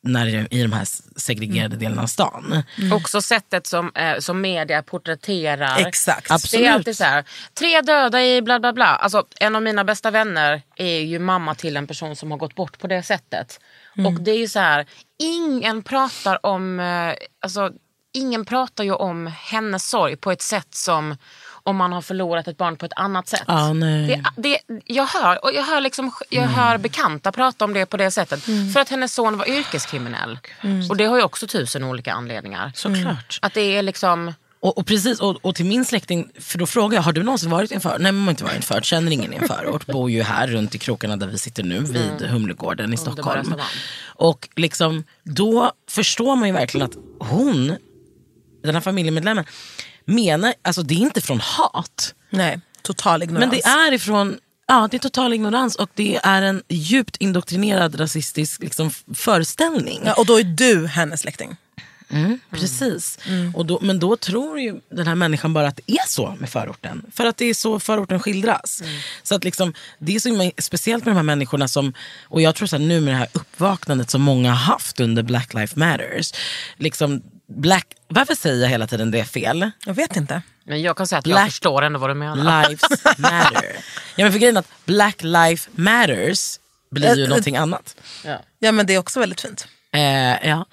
S5: när det, i de här segregerade delarna av stan.
S2: Också sättet som, eh, som media porträtterar.
S6: Exakt.
S5: Abs-
S2: Det
S5: Absolut.
S2: är alltid så här, tre döda i bla bla bla. Alltså, en av mina bästa vänner är ju mamma till en person som har gått bort på det sättet. Och det är ju så här, ingen pratar om, eh, alltså, ingen pratar ju om hennes sorg på ett sätt som om man har förlorat ett barn på ett annat sätt.
S5: Ah, nej.
S2: Det,
S6: Mm.
S2: det, jag hör, och jag hör, liksom, jag hör bekanta prata om det på det sättet.
S6: Mm.
S2: För att hennes son var yrkeskriminell. Och det har ju också tusen olika anledningar.
S5: Såklart.
S2: Att det är liksom...
S5: Och, och precis, och, och till min släkting, för då frågar jag, har du någonsin varit i en förort? Nej men jag har inte varit i en förort, känner ingen i en förort. Bor ju här runt i krokarna där vi sitter nu, vid Humlegården i Stockholm.
S2: Södermalm.
S5: Och liksom, då förstår man ju verkligen att hon, den här familjemedlemmen, menar, alltså det är inte från hat.
S6: Nej, total ignorans.
S5: Men det är ifrån Ja, det är total ignorans och det är en djupt indoktrinerad rasistisk liksom, f- föreställning.
S6: ja, och då är du hennes släkting.
S5: Precis. Och då, men då tror ju den här människan bara att det är så med förorten. För att det är så förorten skildras. Så att liksom, det är så himla speciellt med de här människorna som, och jag tror så här, nu med det här uppvaknandet som många har haft under Black Lives Matters. Liksom, black, varför säger jag hela tiden det är fel?
S6: Jag vet inte.
S2: Men jag kan säga att
S5: Black
S2: jag förstår ändå vad du menar.
S5: Lives matter. ja, men för grejen är att Black Life Matters blir ju
S6: Ä-
S5: någonting annat.
S6: Ja men det är också väldigt fint.
S5: Eh, ja.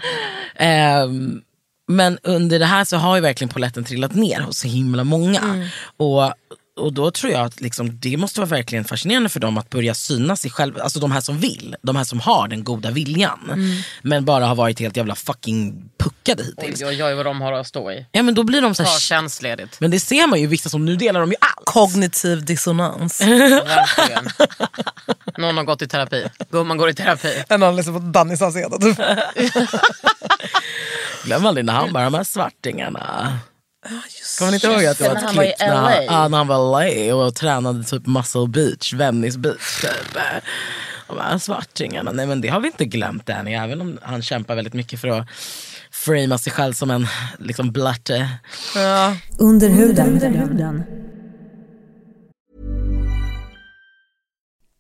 S5: Ehm, men under det här så har ju verkligen poletten trillat ner hos så himla många. Och, och då tror jag att liksom, det måste vara verkligen fascinerande för dem att börja synas sig själva. Alltså de här som vill, de här som har den goda viljan. Men bara har varit helt jävla fucking puckade hittills.
S2: Oj, oj, oj vad de har att stå i.
S5: Ja men då blir de så här,
S2: Ta
S5: shit.
S2: tjänstledigt.
S5: men det ser man ju vissa som nu delar de ju allt.
S6: Kognitiv dissonans.
S2: Verkligen. Någon har gått i terapi. Gumman går i terapi.
S6: En anledning på Danny Saucedo. Typ.
S5: Glöm aldrig när han bara, de här svartingarna. Kommer ni inte ihåg att det
S2: Ah, det, när
S5: var ett
S2: han var i
S5: klipp när han,
S2: LA?
S5: ja, när han var i LA och tränade typ Muscle Beach, Venice Beach typ. De här svartingarna, nej men det har vi inte glömt Danny, även om han kämpar väldigt mycket för att framea sig själv som en liksom blatte.
S6: Ja.
S4: Under huden.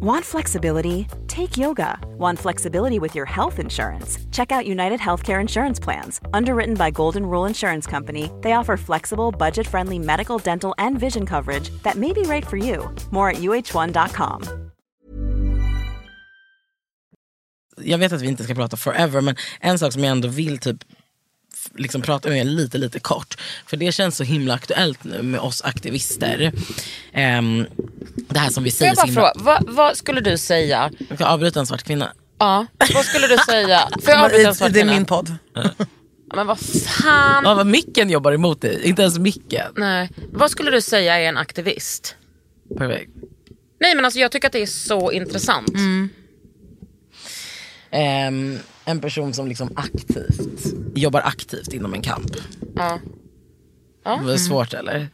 S3: Want flexibility? Take yoga. Want flexibility with your health insurance? Check out United Healthcare Insurance Plans. Underwritten by Golden Rule Insurance Company, they offer flexible, budget friendly medical, dental, and vision coverage that may be right for you. More at uh1.com.
S5: jag vet att vi inte ska prata forever, men en sak som jag ändå vill typ f- liksom prata med er lite, lite kort. För det känns så himla aktuellt nu med oss aktivister. Ehm, det här som vi
S2: Får
S5: säger
S2: jag
S5: så
S2: bara fråga,
S5: himla...
S2: vad, vad skulle du säga?
S5: Jag kan avbryta en svart kvinna.
S2: Ja, vad skulle du säga? Får jag avbryta en svart
S6: Det är
S2: kvinna?
S6: min podd.
S2: Ja, Men vad fan.
S5: Ja, vad micken jobbar emot dig, inte ens micken.
S2: Nej. Vad skulle du säga är en aktivist?
S5: Perfekt.
S2: Nej men alltså jag tycker att det är så intressant.
S6: Mm.
S5: Ehm, en person som liksom aktivt, jobbar aktivt inom en kamp.
S2: Ja.
S5: Det var svårt eller?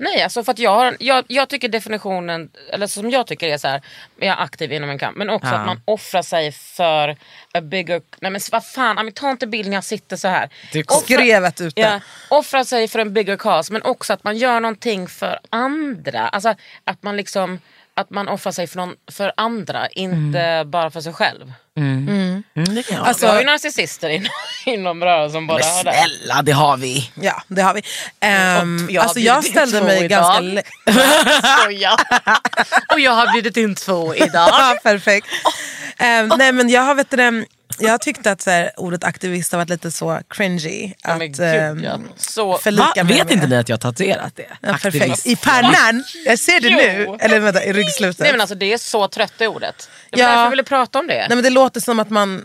S2: Nej, alltså för att jag, har en, jag, jag tycker definitionen, eller som jag tycker är så här, jag är aktiv inom en kamp. Men också
S5: Ja.
S2: att man offrar sig för a bigger, nej men vad fan, Ami, ta inte bild när jag sitter så här.
S5: Du
S2: Offra-
S6: Skrevet ute.
S2: Ja, offra sig för en bigger cause men också att man gör någonting för andra. Alltså att man liksom, att man offrar sig för, någon, för andra, inte bara för sig själv.
S5: Mm, det kan jag.
S2: Vi har
S6: Alltså,
S2: ju narcissister inom, inom rörelsen som bara har
S5: Men
S2: det.
S5: snälla, det har vi.
S6: ja, det har vi. Ehm,
S2: Och jag har
S6: alltså, jag
S2: bjudit in
S6: ställde
S2: två
S6: mig
S2: idag.
S6: ganska... le-
S2: Skoja. Och jag har bjudit in två idag.
S6: Ja, perfekt. Ehm, nej, men jag har vet du, det, jag tyckte att så här, ordet aktivist har varit lite så cringy.
S2: Ja,
S6: att,
S2: men gud,
S6: ehm,
S2: ja. Så-
S5: Va?
S6: förlika mig
S5: Vet
S6: med.
S5: inte ni att jag har tatuerat det?
S6: Ja, perfekt.
S5: Aktivist.
S6: I pannan! Jag ser det
S2: Jo.
S6: nu. Eller vänta, i ryggslutet.
S2: Nej men alltså det är så trött det ordet. Det var
S6: Ja.
S2: därför jag ville prata om det.
S6: Nej, men det låter som att man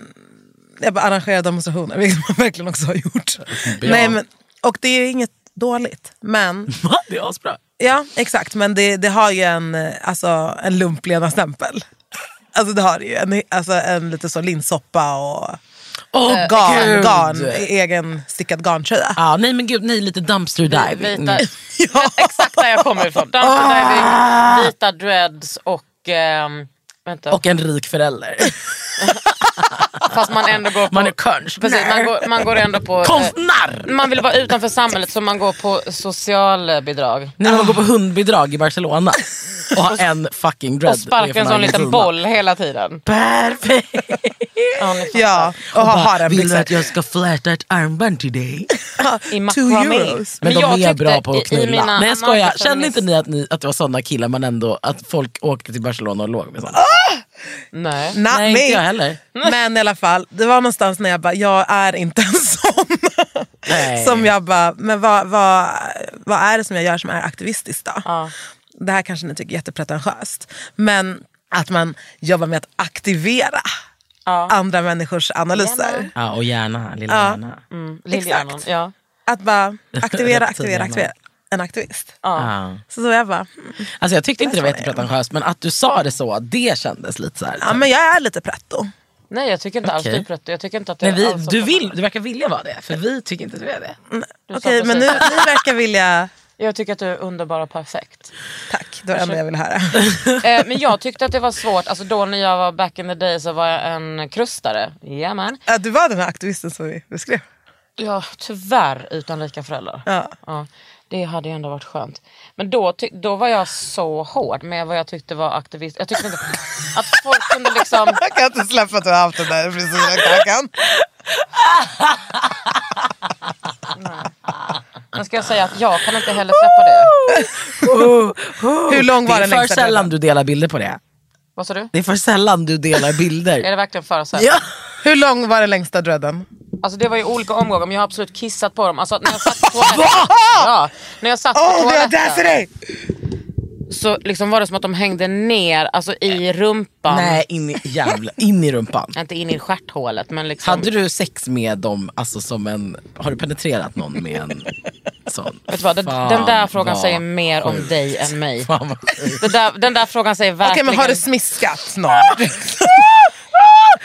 S6: jag bara arrangerar demonstrationer, vilket man verkligen också har gjort. Nej, men, och det är inget dåligt. Men,
S5: Va? Det är asbra.
S6: ja, exakt, men det, det har ju en, eh, alltså, en lumplena-stämpel. Alltså det har det ju. En, alltså, en lite så linssoppa och
S5: Åh
S2: Eh,
S6: garn,
S5: Eh, gud.
S6: garn, egen stickad garntröja.
S5: Ja, nej men gud, nej lite Mm. dumpster diving.
S2: Vita, Exakt där jag kommer ifrån. Dumpster
S5: Ah.
S2: diving, vita dreads och... ehm, vänta.
S5: Och en rik förälder.
S2: Fast man ändå går på...
S5: Man är könsch.
S2: Precis, man går, man går ändå på... eh,
S5: Konstnär!
S2: man vill vara utanför samhället så man går på socialbidrag.
S5: När man
S2: Ah.
S5: går på hundbidrag i Barcelona och har en fucking dread.
S2: Och sparkar en
S5: från
S2: sån liten
S5: Argentina.
S2: boll hela tiden.
S5: Perfekt!
S2: Ja, ni fattar.
S6: Ja, och, ha
S5: Bara,
S6: har en
S5: Vill du
S6: blixer.
S5: att jag ska fläta ett armband till
S2: I
S5: dig?
S6: Two
S2: makramé.
S6: euros.
S5: Men,
S2: jag
S5: de är
S2: tyckte
S5: bra på
S2: i-
S5: att
S2: i mina
S5: knulla. Nej jag skojar,
S2: anarkofeminist-
S5: kände inte ni att, ni att det var såna killar man ändå, att folk åkte till Barcelona och låg med såna?
S2: Nej.
S6: Not
S5: nej
S6: me.
S5: inte jag heller.
S6: Men i alla fall, det var någonstans när jag bara, jag är inte en sån.
S5: Nej.
S6: som jag bara, men vad, vad, vad är det som jag gör som är aktivistiskt då? Det här kanske ni tycker är jättepretentiöst. Men att man jobbar med att aktivera andra människors analyser.
S5: Ja och gärna, lilla
S6: Ja.
S5: hjärna.
S2: Lillhjärnan,
S6: Exakt.
S2: ja.
S6: Att bara aktivera, aktivera,
S5: Reptilhjärnan.
S6: aktivera. En aktivist.
S5: Ja.
S6: Så då jag bara, mm,
S5: Alltså jag tyckte inte det var
S6: Där sa jag.
S5: jättepretentiöst men att du sa det så, det kändes lite såhär.
S6: ja, men jag är lite pretto.
S2: Nej jag tycker inte alls
S5: Okej.
S2: du är pretto. Jag tycker inte att det Mm.
S5: men
S2: är
S5: vi,
S2: alls
S5: du,
S2: alltså, så-
S5: vill, du verkar vilja vara det, för vi tycker inte att du är det.
S2: du sa
S6: Okej, men nu,
S2: precis.
S6: ni verkar vilja...
S2: Jag tycker att du är underbar och perfekt.
S6: Tack, det var det enda jag ville höra.
S2: Eh, men jag tyckte att det var svårt, alltså då när jag var back in the day så var jag en krustare. Yeah, man.
S6: Ja, du var den här aktivisten som vi beskrev.
S2: Ja, tyvärr utan lika föräldrar.
S6: Ja.
S2: Ja, det hade ju ändå varit skönt. Men då, ty- då var jag så hård med vad jag tyckte var aktivist. Jag tyckte inte att folk kunde liksom...
S6: Jag kan inte släppa att du har haft den där frisyren Kakan.
S2: Nu ska jag säga att jag kan inte heller släppa det.
S6: Hur lång
S5: Det
S6: var
S5: är
S6: den
S5: för
S6: längsta
S5: sällan
S6: dreaden?
S5: du delar bilder på det.
S2: Vad sa du?
S5: Det är för sällan du delar
S2: Är
S5: bilder.
S2: det verkligen för sällan?
S5: ja.
S6: Hur lång var den längsta dreaden?
S2: Alltså det var ju olika omgångar men jag har absolut kissat på dem. Alltså när jag satt på toaletten, ja, när jag satt på
S6: Åh, det var
S2: toaletten
S6: Desiree!
S2: så liksom var det som att de hängde ner alltså i rumpan.
S5: Nej, in i, jävla, in i rumpan.
S2: Inte in i stjärthålet men liksom.
S5: Hade du sex med dem, alltså som en, har du penetrerat någon med en sån?
S2: Vet du vad, den,
S5: Fan,
S2: den där frågan
S5: vad
S2: säger mer om
S5: sjukt.
S2: dig än mig.
S5: Fan vad sjukt.
S2: Den där, den där frågan säger
S6: Okej
S2: verkligen...
S6: men har du smiskat någon?
S5: Ah!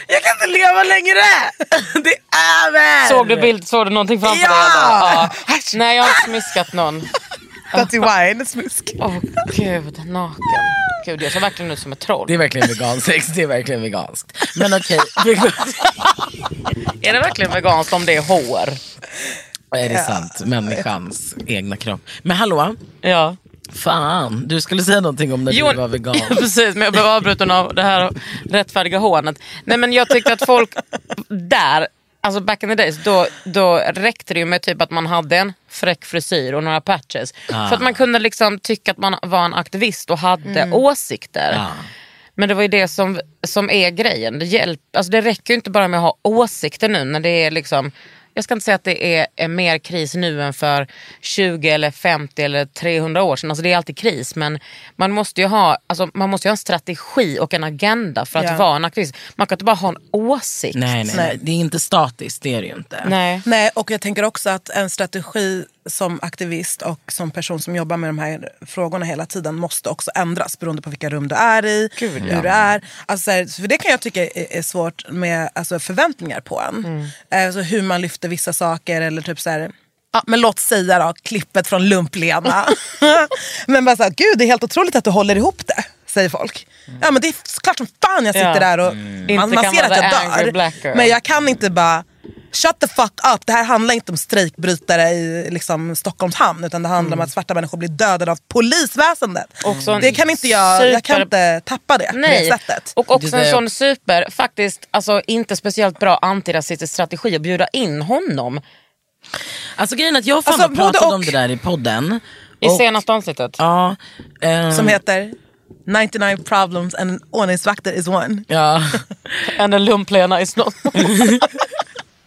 S5: Jag kan inte leva längre! Det är över!
S2: såg, du bild, såg du någonting framför
S5: Ja!
S2: dig? Adam? Ja! Nej jag har inte smiskat någon.
S6: Fatty wine, smisk.
S2: Åh gud, naken. Gud jag ser verkligen ut som ett troll.
S5: Det är verkligen vegansex, det är verkligen veganskt. Men okej, vegan-
S2: Är det verkligen veganskt om det är hår?
S5: är det sant? Människans egna kropp. Men hallå,
S2: Ja.
S5: fan, du skulle säga någonting om när du var vegan.
S2: precis, men jag blev avbruten av det här rättfärdiga hånet. Nej men jag tyckte att folk där, alltså back in the days, då, då räckte det ju med typ att man hade en fräck frisyr och några patches.
S5: Ah.
S2: För att man kunde liksom tycka att man var en aktivist och hade åsikter.
S5: Ja.
S2: Men det var ju det som, som är grejen. Det, hjälp, alltså det räcker ju inte bara med att ha åsikter nu när det är liksom jag ska inte säga att det är, är mer kris nu än för 20 eller 50 eller 300 år sedan. Alltså det är alltid kris men man måste ju ha, alltså man måste ju ha en strategi och en agenda för att
S6: Ja.
S2: vara en aktivist. Man kan inte bara ha en åsikt.
S5: Nej, nej, nej, det är inte statiskt, det är det ju inte.
S2: Nej.
S6: Nej, och jag tänker också att en strategi som aktivist och som person som jobbar med de här frågorna hela tiden måste också ändras beroende på vilka rum du är i, hur du är. Alltså, så här, för det kan jag tycka är, är svårt med alltså, förväntningar på en.
S2: Mm.
S6: Alltså, hur man lyfter vissa saker eller typ så här... Ja, men låt säga då, klippet från Lump-Lena. men bara så här, gud det är helt otroligt att du håller ihop det, säger folk. Ja men det är klart som fan jag sitter
S2: Mm. Ja. Mm.
S6: där och man,
S2: Inte
S6: man
S2: kan
S6: ser
S2: man
S6: att jag
S2: vara angry
S6: dör.
S2: black girl.
S6: Men jag kan inte bara Shut the fuck up, det här handlar inte om strejkbrytare i liksom, Stockholms hamn utan det handlar om att svarta människor blir dödade av polisväsendet.
S2: Mm. Också en
S6: det kan inte jag, jag kan
S2: super-
S6: inte tappa det på
S2: Nej.
S6: det sättet.
S2: Och också
S5: Det
S2: en
S5: där-
S2: sån super, faktiskt alltså, inte speciellt bra antirasistisk strategi att bjuda in honom
S5: Alltså grejen är att jag har fan
S6: Alltså, både
S5: pratat
S6: och.
S5: om det där i podden.
S2: i
S5: Och-
S2: senaste avsnittet.
S5: Ja, ehm,
S6: Som heter 99 problems and an ordningsvakter is one.
S5: ja.
S2: Än en lumplena i snott.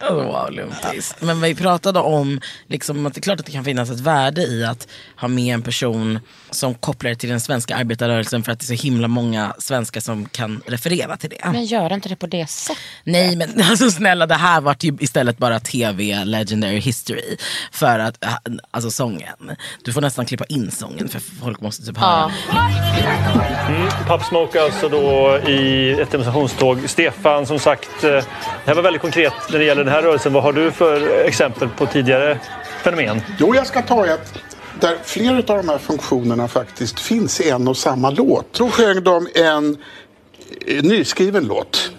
S5: Oh, wow, lumpis. Men vi pratade om liksom, att det är klart att det kan finnas ett värde i att ha med en person som kopplar det till den svenska arbetarrörelsen för att det är så himla många svenskar som kan referera till det.
S2: Men gör inte det på det sättet.
S5: Nej men alltså snälla det här vart ju istället bara tv legendary history. För att, äh, alltså sången. Du får nästan klippa in sången för folk måste typ höra. den.
S7: Pappsmoke alltså då i ett demonstrationståg. Stefan, som sagt, eh, det här var väldigt konkret när det gäller den här rörelsen. Vad har du för exempel på tidigare fenomen?
S8: Jo, jag ska ta ett där flera av de här funktionerna faktiskt finns i en och samma låt. Då sjöng de en eh, nyskriven låt.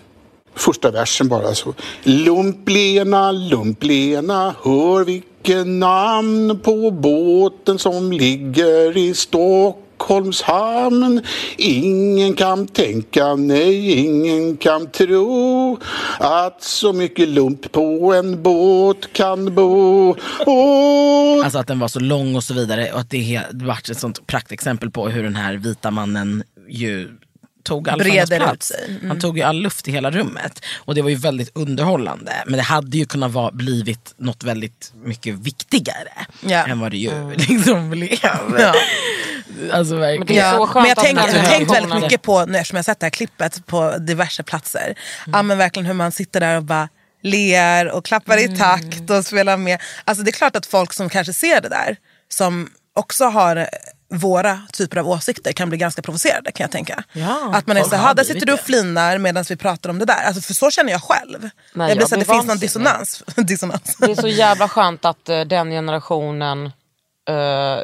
S8: Första versen bara så. Lumplena, lumplena, hör vilken namn på båten som ligger i Stockholms hamn. Ingen kan tänka, nej, ingen kan tro att så mycket lump på en båt kan bo. Åh,
S5: Alltså att den var så lång och så vidare. Och att det he- det vart ett sånt praktexempel på hur den här vita mannen ju tog all
S6: Breder
S5: hans
S6: ut
S5: plats.
S6: sig. Mm.
S5: Han tog ju all luft i hela rummet. Och det var ju väldigt underhållande. Men det hade ju kunnat vara, blivit något väldigt mycket viktigare.
S6: Ja.
S5: Än vad det ju liksom blev.
S6: Ja.
S5: Alltså verkligen.
S2: Det är så skönt
S6: men jag
S2: att
S6: tänk,
S2: den
S6: jag
S2: här
S6: har tänkt väldigt
S2: versionen-
S6: mycket på, nu, eftersom jag har sett det här klippet på diverse platser,
S2: Mm.
S6: ja, men verkligen hur man sitter där och bara ler och klappar
S2: Mm.
S6: i takt och spelar med. Alltså det är klart att folk som kanske ser det där, som också har eh, våra typer av åsikter kan bli ganska provocerade kan jag tänka.
S5: Ja,
S6: att man är
S5: folk
S6: så
S5: har
S6: här, där
S5: blivit
S6: sitter du och
S5: det."
S6: flinar medan vi pratar om det där. Alltså, för så känner jag själv. jag blir
S2: jag
S6: så att det
S2: blir
S6: finns någon
S2: vansinnig.
S6: dissonans. dissonans.
S2: Det är så jävla skönt att eh, den generationen eh,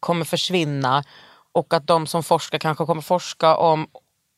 S2: kommer försvinna och att de som forskar kanske kommer forska om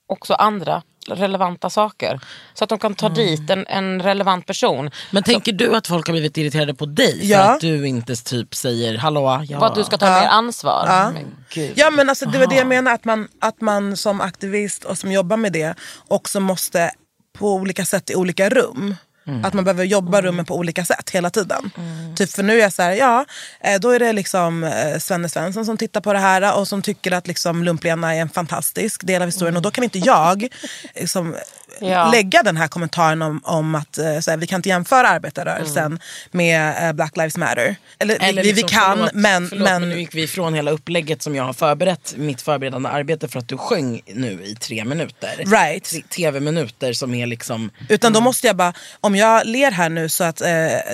S2: också andra relevanta saker. Så att de kan ta dit en, en relevant person.
S5: Men tänker du att folk har blivit irriterade på dig för
S6: Ja.
S5: att du inte typ säger hallå? Ja.
S2: För att du ska ta
S6: Ja.
S2: mer ansvar.
S6: Ja.
S2: Men gud.
S6: Ja men alltså det var det jag menar att man, att man som aktivist och som jobbar med det också måste på olika sätt i olika rum
S5: Mm.
S6: Att man behöver jobba rummen på olika sätt hela tiden. Typ för nu är jag så här, ja, eh, då är det liksom eh, Svenne Svensson som tittar på det här eh, och som tycker att liksom Lump-Lena är en fantastisk del av historien. Och då kan inte jag liksom,
S2: Ja.
S6: lägga den här kommentaren om, om att eh, så här, vi kan inte jämföra arbetarrörelsen med eh, Black Lives Matter. Eller,
S5: Mm. Eller
S6: Eh, vi,
S5: liksom,
S6: vi kan,
S5: förlåt,
S6: men...
S5: förlåt, men...
S6: men
S5: nu gick vi ifrån hela upplägget som jag har förberett, mitt förberedande arbete för att du sjöng nu i tre minuter.
S6: Right.
S5: Tre- Tv-minuter som är liksom,
S6: Utan då måste jag bara, om jag ler här nu så att eh,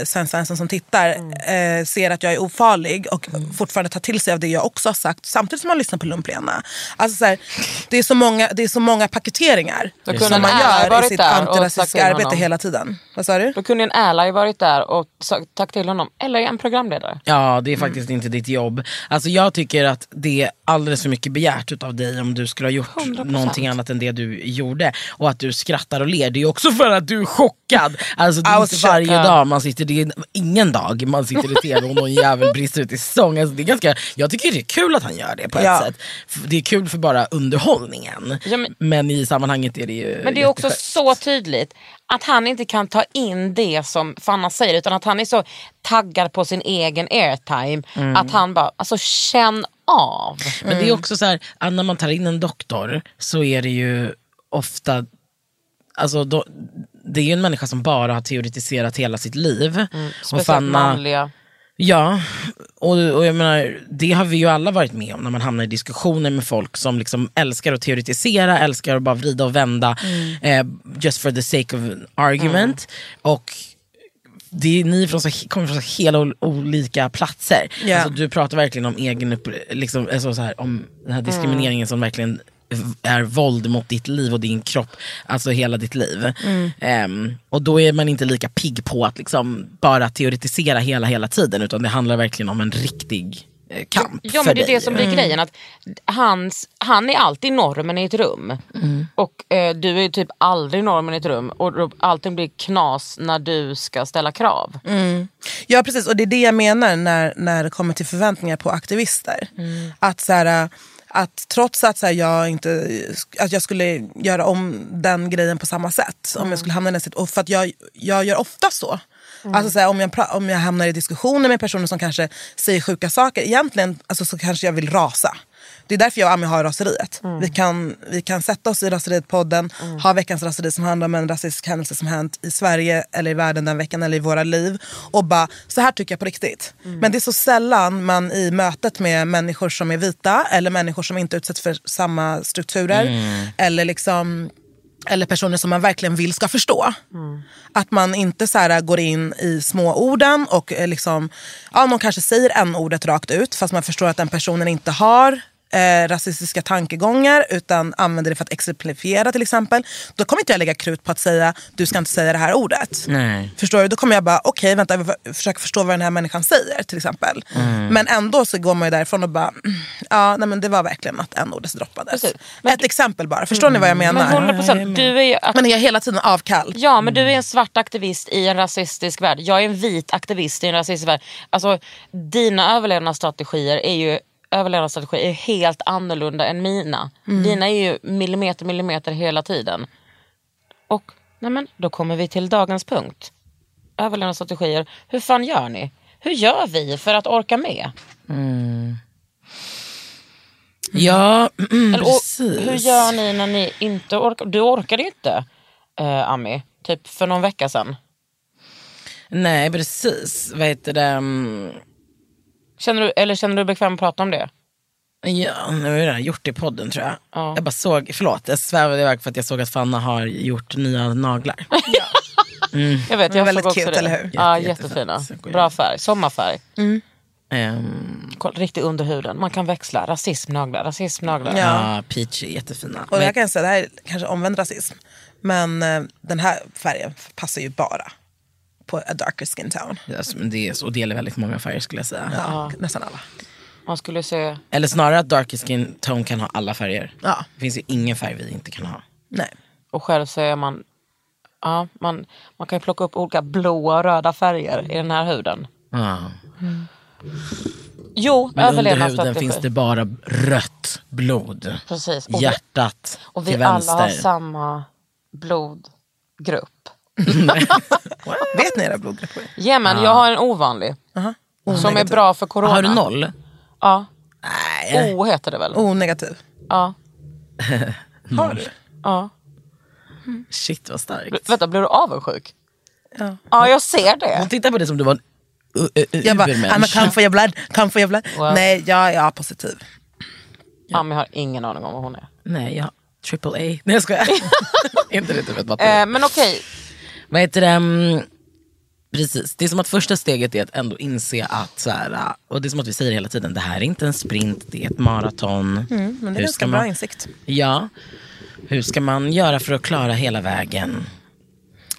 S6: Sven Svensson som tittar eh, ser att jag är ofarlig och fortfarande tar till sig av det jag också har sagt samtidigt som man lyssnar på Lumplena. Alltså så här, det, är så många, det är så många paketeringar
S2: kunde
S6: som
S2: en
S6: man
S2: ärlig
S6: gör i
S2: varit
S6: sitt
S2: där och sagt till
S6: antirasistiska arbete
S2: honom.
S6: hela tiden. Vad sa du?
S2: Då kunde en ally varit där och sagt tack till honom. Eller en programledare.
S5: ja det är faktiskt inte ditt jobb. Alltså jag tycker att det är alldeles för mycket begärt utav dig om du skulle ha gjort
S2: 100%.
S5: någonting annat än det du gjorde. Och att du skrattar och ler, det är också för att du är chockad. Alltså det
S6: I
S5: är
S6: was
S5: inte varje
S2: chocked.
S5: dag man sitter, det är ingen dag man sitter i tv och någon jävel brister ut i sång. Alltså, det är ganska, jag tycker det är kul att han gör det på ett
S6: Ja.
S5: sätt. F- Det är kul för bara underhållningen.
S2: Ja, men-
S5: Men i sammanhanget är det ju
S2: Men det är också
S5: jätteskönt.
S2: så tydligt att han inte kan ta in det som Fanna säger utan att han är så taggad på sin egen airtime
S5: Mm.
S2: att han bara, alltså känn av.
S5: Men det är också så här, att när man tar in en doktor så är det ju ofta, alltså då, det är ju en människa som bara har teoretiserat hela sitt liv. och
S2: Speciellt
S5: Fanna,
S2: manliga.
S5: Ja, och, och jag menar, det har vi ju alla varit med om när man hamnar i diskussioner med folk som liksom älskar att teoretisera, älskar att bara vrida och vända eh, just for the sake of an argument. Och det är ni från så, kommer från så hela ol- olika platser.
S6: Ja.
S5: Alltså, du pratar verkligen om, egen upp, liksom, alltså så här, om den
S2: Mm.
S5: här diskrimineringen som verkligen är våld mot ditt liv och din kropp, alltså hela ditt liv.
S2: Mm.
S5: Ehm, och då är man inte lika pigg på att liksom bara teoretisera hela, hela tiden utan det handlar verkligen om en riktig eh, kamp
S2: Ja
S5: för
S2: men det är
S5: dig. Mm.
S2: det som blir grejen. Att hans, han är alltid normen i ett rum.
S5: Mm.
S2: Och eh, du är typ aldrig normen i ett rum. Och då- allting blir knas när du ska ställa krav.
S5: Mm.
S6: Ja precis, och det är det jag menar när, när det kommer till förväntningar på aktivister. Att, så här, att trots att, så här, jag inte, att jag skulle göra om den grejen på samma sätt, om jag skulle hamna i den sit- och för att jag, jag gör ofta så. Alltså så här, om, jag pra- om jag hamnar i diskussioner med personer som kanske säger sjuka saker, egentligen alltså, så kanske jag vill rasa. Det är därför jag och Ami har raseriet. Vi, kan, vi kan sätta oss i Raseriet-podden, ha veckans raseri som handlar om en rasistisk händelse som hänt i Sverige eller i världen den veckan eller i våra liv och bara, så här tycker jag på riktigt. Men det är så sällan man i mötet med människor som är vita eller människor som inte utsätts för samma strukturer eller liksom eller personer som man verkligen vill ska förstå. Att man inte så här går in i småorden och eh, liksom, ja, någon kanske säger en ordet rakt ut fast man förstår att den personen inte har eh, rasistiska tankegångar utan använder det för att exemplifiera till exempel. Då kommer inte jag lägga krut på att säga du ska inte säga det här ordet.
S5: Nej.
S6: Förstår du? Då kommer jag bara, okej vänta, jag vill försöka förstå vad den här människan säger till exempel. Men ändå så går man ju därifrån och bara, "Mm, ja nej men det var verkligen att en ordet droppades.
S2: Precis.
S6: Ett exempel bara, förstår ni vad jag menar?
S2: Men 100% du är ju aktör.
S6: Man är hela tiden avkall.
S2: Ja, men du är en svart aktivist i en rasistisk värld. Jag är en vit aktivist i en rasistisk värld. Alltså, dina överlevnadsstrategier är ju överlevnadsstrategier är helt annorlunda än mina. Dina är ju millimeter, millimeter hela tiden. Och nej men, då kommer vi till dagens punkt. Överlevnadsstrategier. Hur fan gör ni? Hur gör vi för att orka med?
S5: Ja,
S2: Eller, och,
S5: precis.
S2: hur gör ni när ni inte orkar? Du orkade ju inte, eh, Ami, typ för någon vecka sedan.
S5: Nej precis, vad heter det? Mm,
S2: Känner du, eller känner du dig bekväm att prata om det?
S5: Ja, nu har jag redan gjort det i podden tror jag.
S2: Ja.
S5: Jag bara såg, förlåt, jag svävade iväg för att jag såg att Fanna har gjort nya naglar.
S2: Jag vet, jag
S6: väldigt
S2: såg också
S6: cute,
S2: det.
S6: eller hur?
S2: Ja,
S5: Jätte-
S2: jättefina.
S5: jättefint.
S2: Bra färg, sommarfärg.
S5: Ehm,
S2: Kolla, riktigt under huden. Man kan växla. Rasismnaglar, rasismnaglar.
S6: Ja.
S5: ja. peach är jättefina.
S6: Och
S5: Men-
S6: jag kan säga, det här är kanske omvänd rasism. Men eh, den här färgen passar ju bara på a darker skin town.
S5: Alltså, men det, är, så- och det gäller väldigt många färger skulle jag säga.
S6: Ja, Nästan alla.
S2: Man skulle se...
S5: Eller snarare att dark skin tone kan ha alla färger.
S6: Ja.
S5: Det finns ju ingen färg vi inte kan ha.
S6: Nej.
S2: Och själv så är man... Ja, man, man kan ju plocka upp olika blåa och röda färger i den här huden.
S5: Ja.
S2: Jo,
S5: Men under huden
S2: överlevnadsstrategi.
S5: finns det bara rött blod.
S2: Precis. Och vi-
S5: Hjärtat
S2: Och
S5: till
S2: vi alla
S5: vänster.
S2: har samma blodgrupp.
S6: Vet ni era blodgrupper?
S2: Ja, men jag har en ovanlig. Som är bra för corona.
S5: Har du noll?
S2: Ja.
S5: Nej.
S2: O heter det väl?
S6: O negativ.
S2: Ja.
S5: Mm.
S6: Har du?
S2: ja.
S5: Shit vad
S2: B-
S5: starkt.
S2: vänta, blir du avundsjuk?
S6: Ja.
S2: Ja, jag ser
S5: Hon
S2: det.
S5: tittar på det som du var en u- u- u-
S6: Jag bara, I'm a
S5: urmänniska.
S6: come for your blood, come for your blood.
S2: Wow.
S6: Nej, jag är positiv.
S2: Ja, men jag har ingen aning om vad hon är.
S5: Nej, jag triple A. Nej jag skojar. inte det typ ett batteri.
S2: Eh, men okej,
S5: Vad heter det? mm, Precis, det är som att första steget är att ändå inse att, så här, äh, och det är som att vi säger hela tiden, det här är inte en sprint, det är ett maraton.
S6: Mm, Men det är
S5: Hur ska
S6: ganska bra
S5: man-
S6: insikt.
S5: Ja. Hur ska man göra för att klara hela vägen?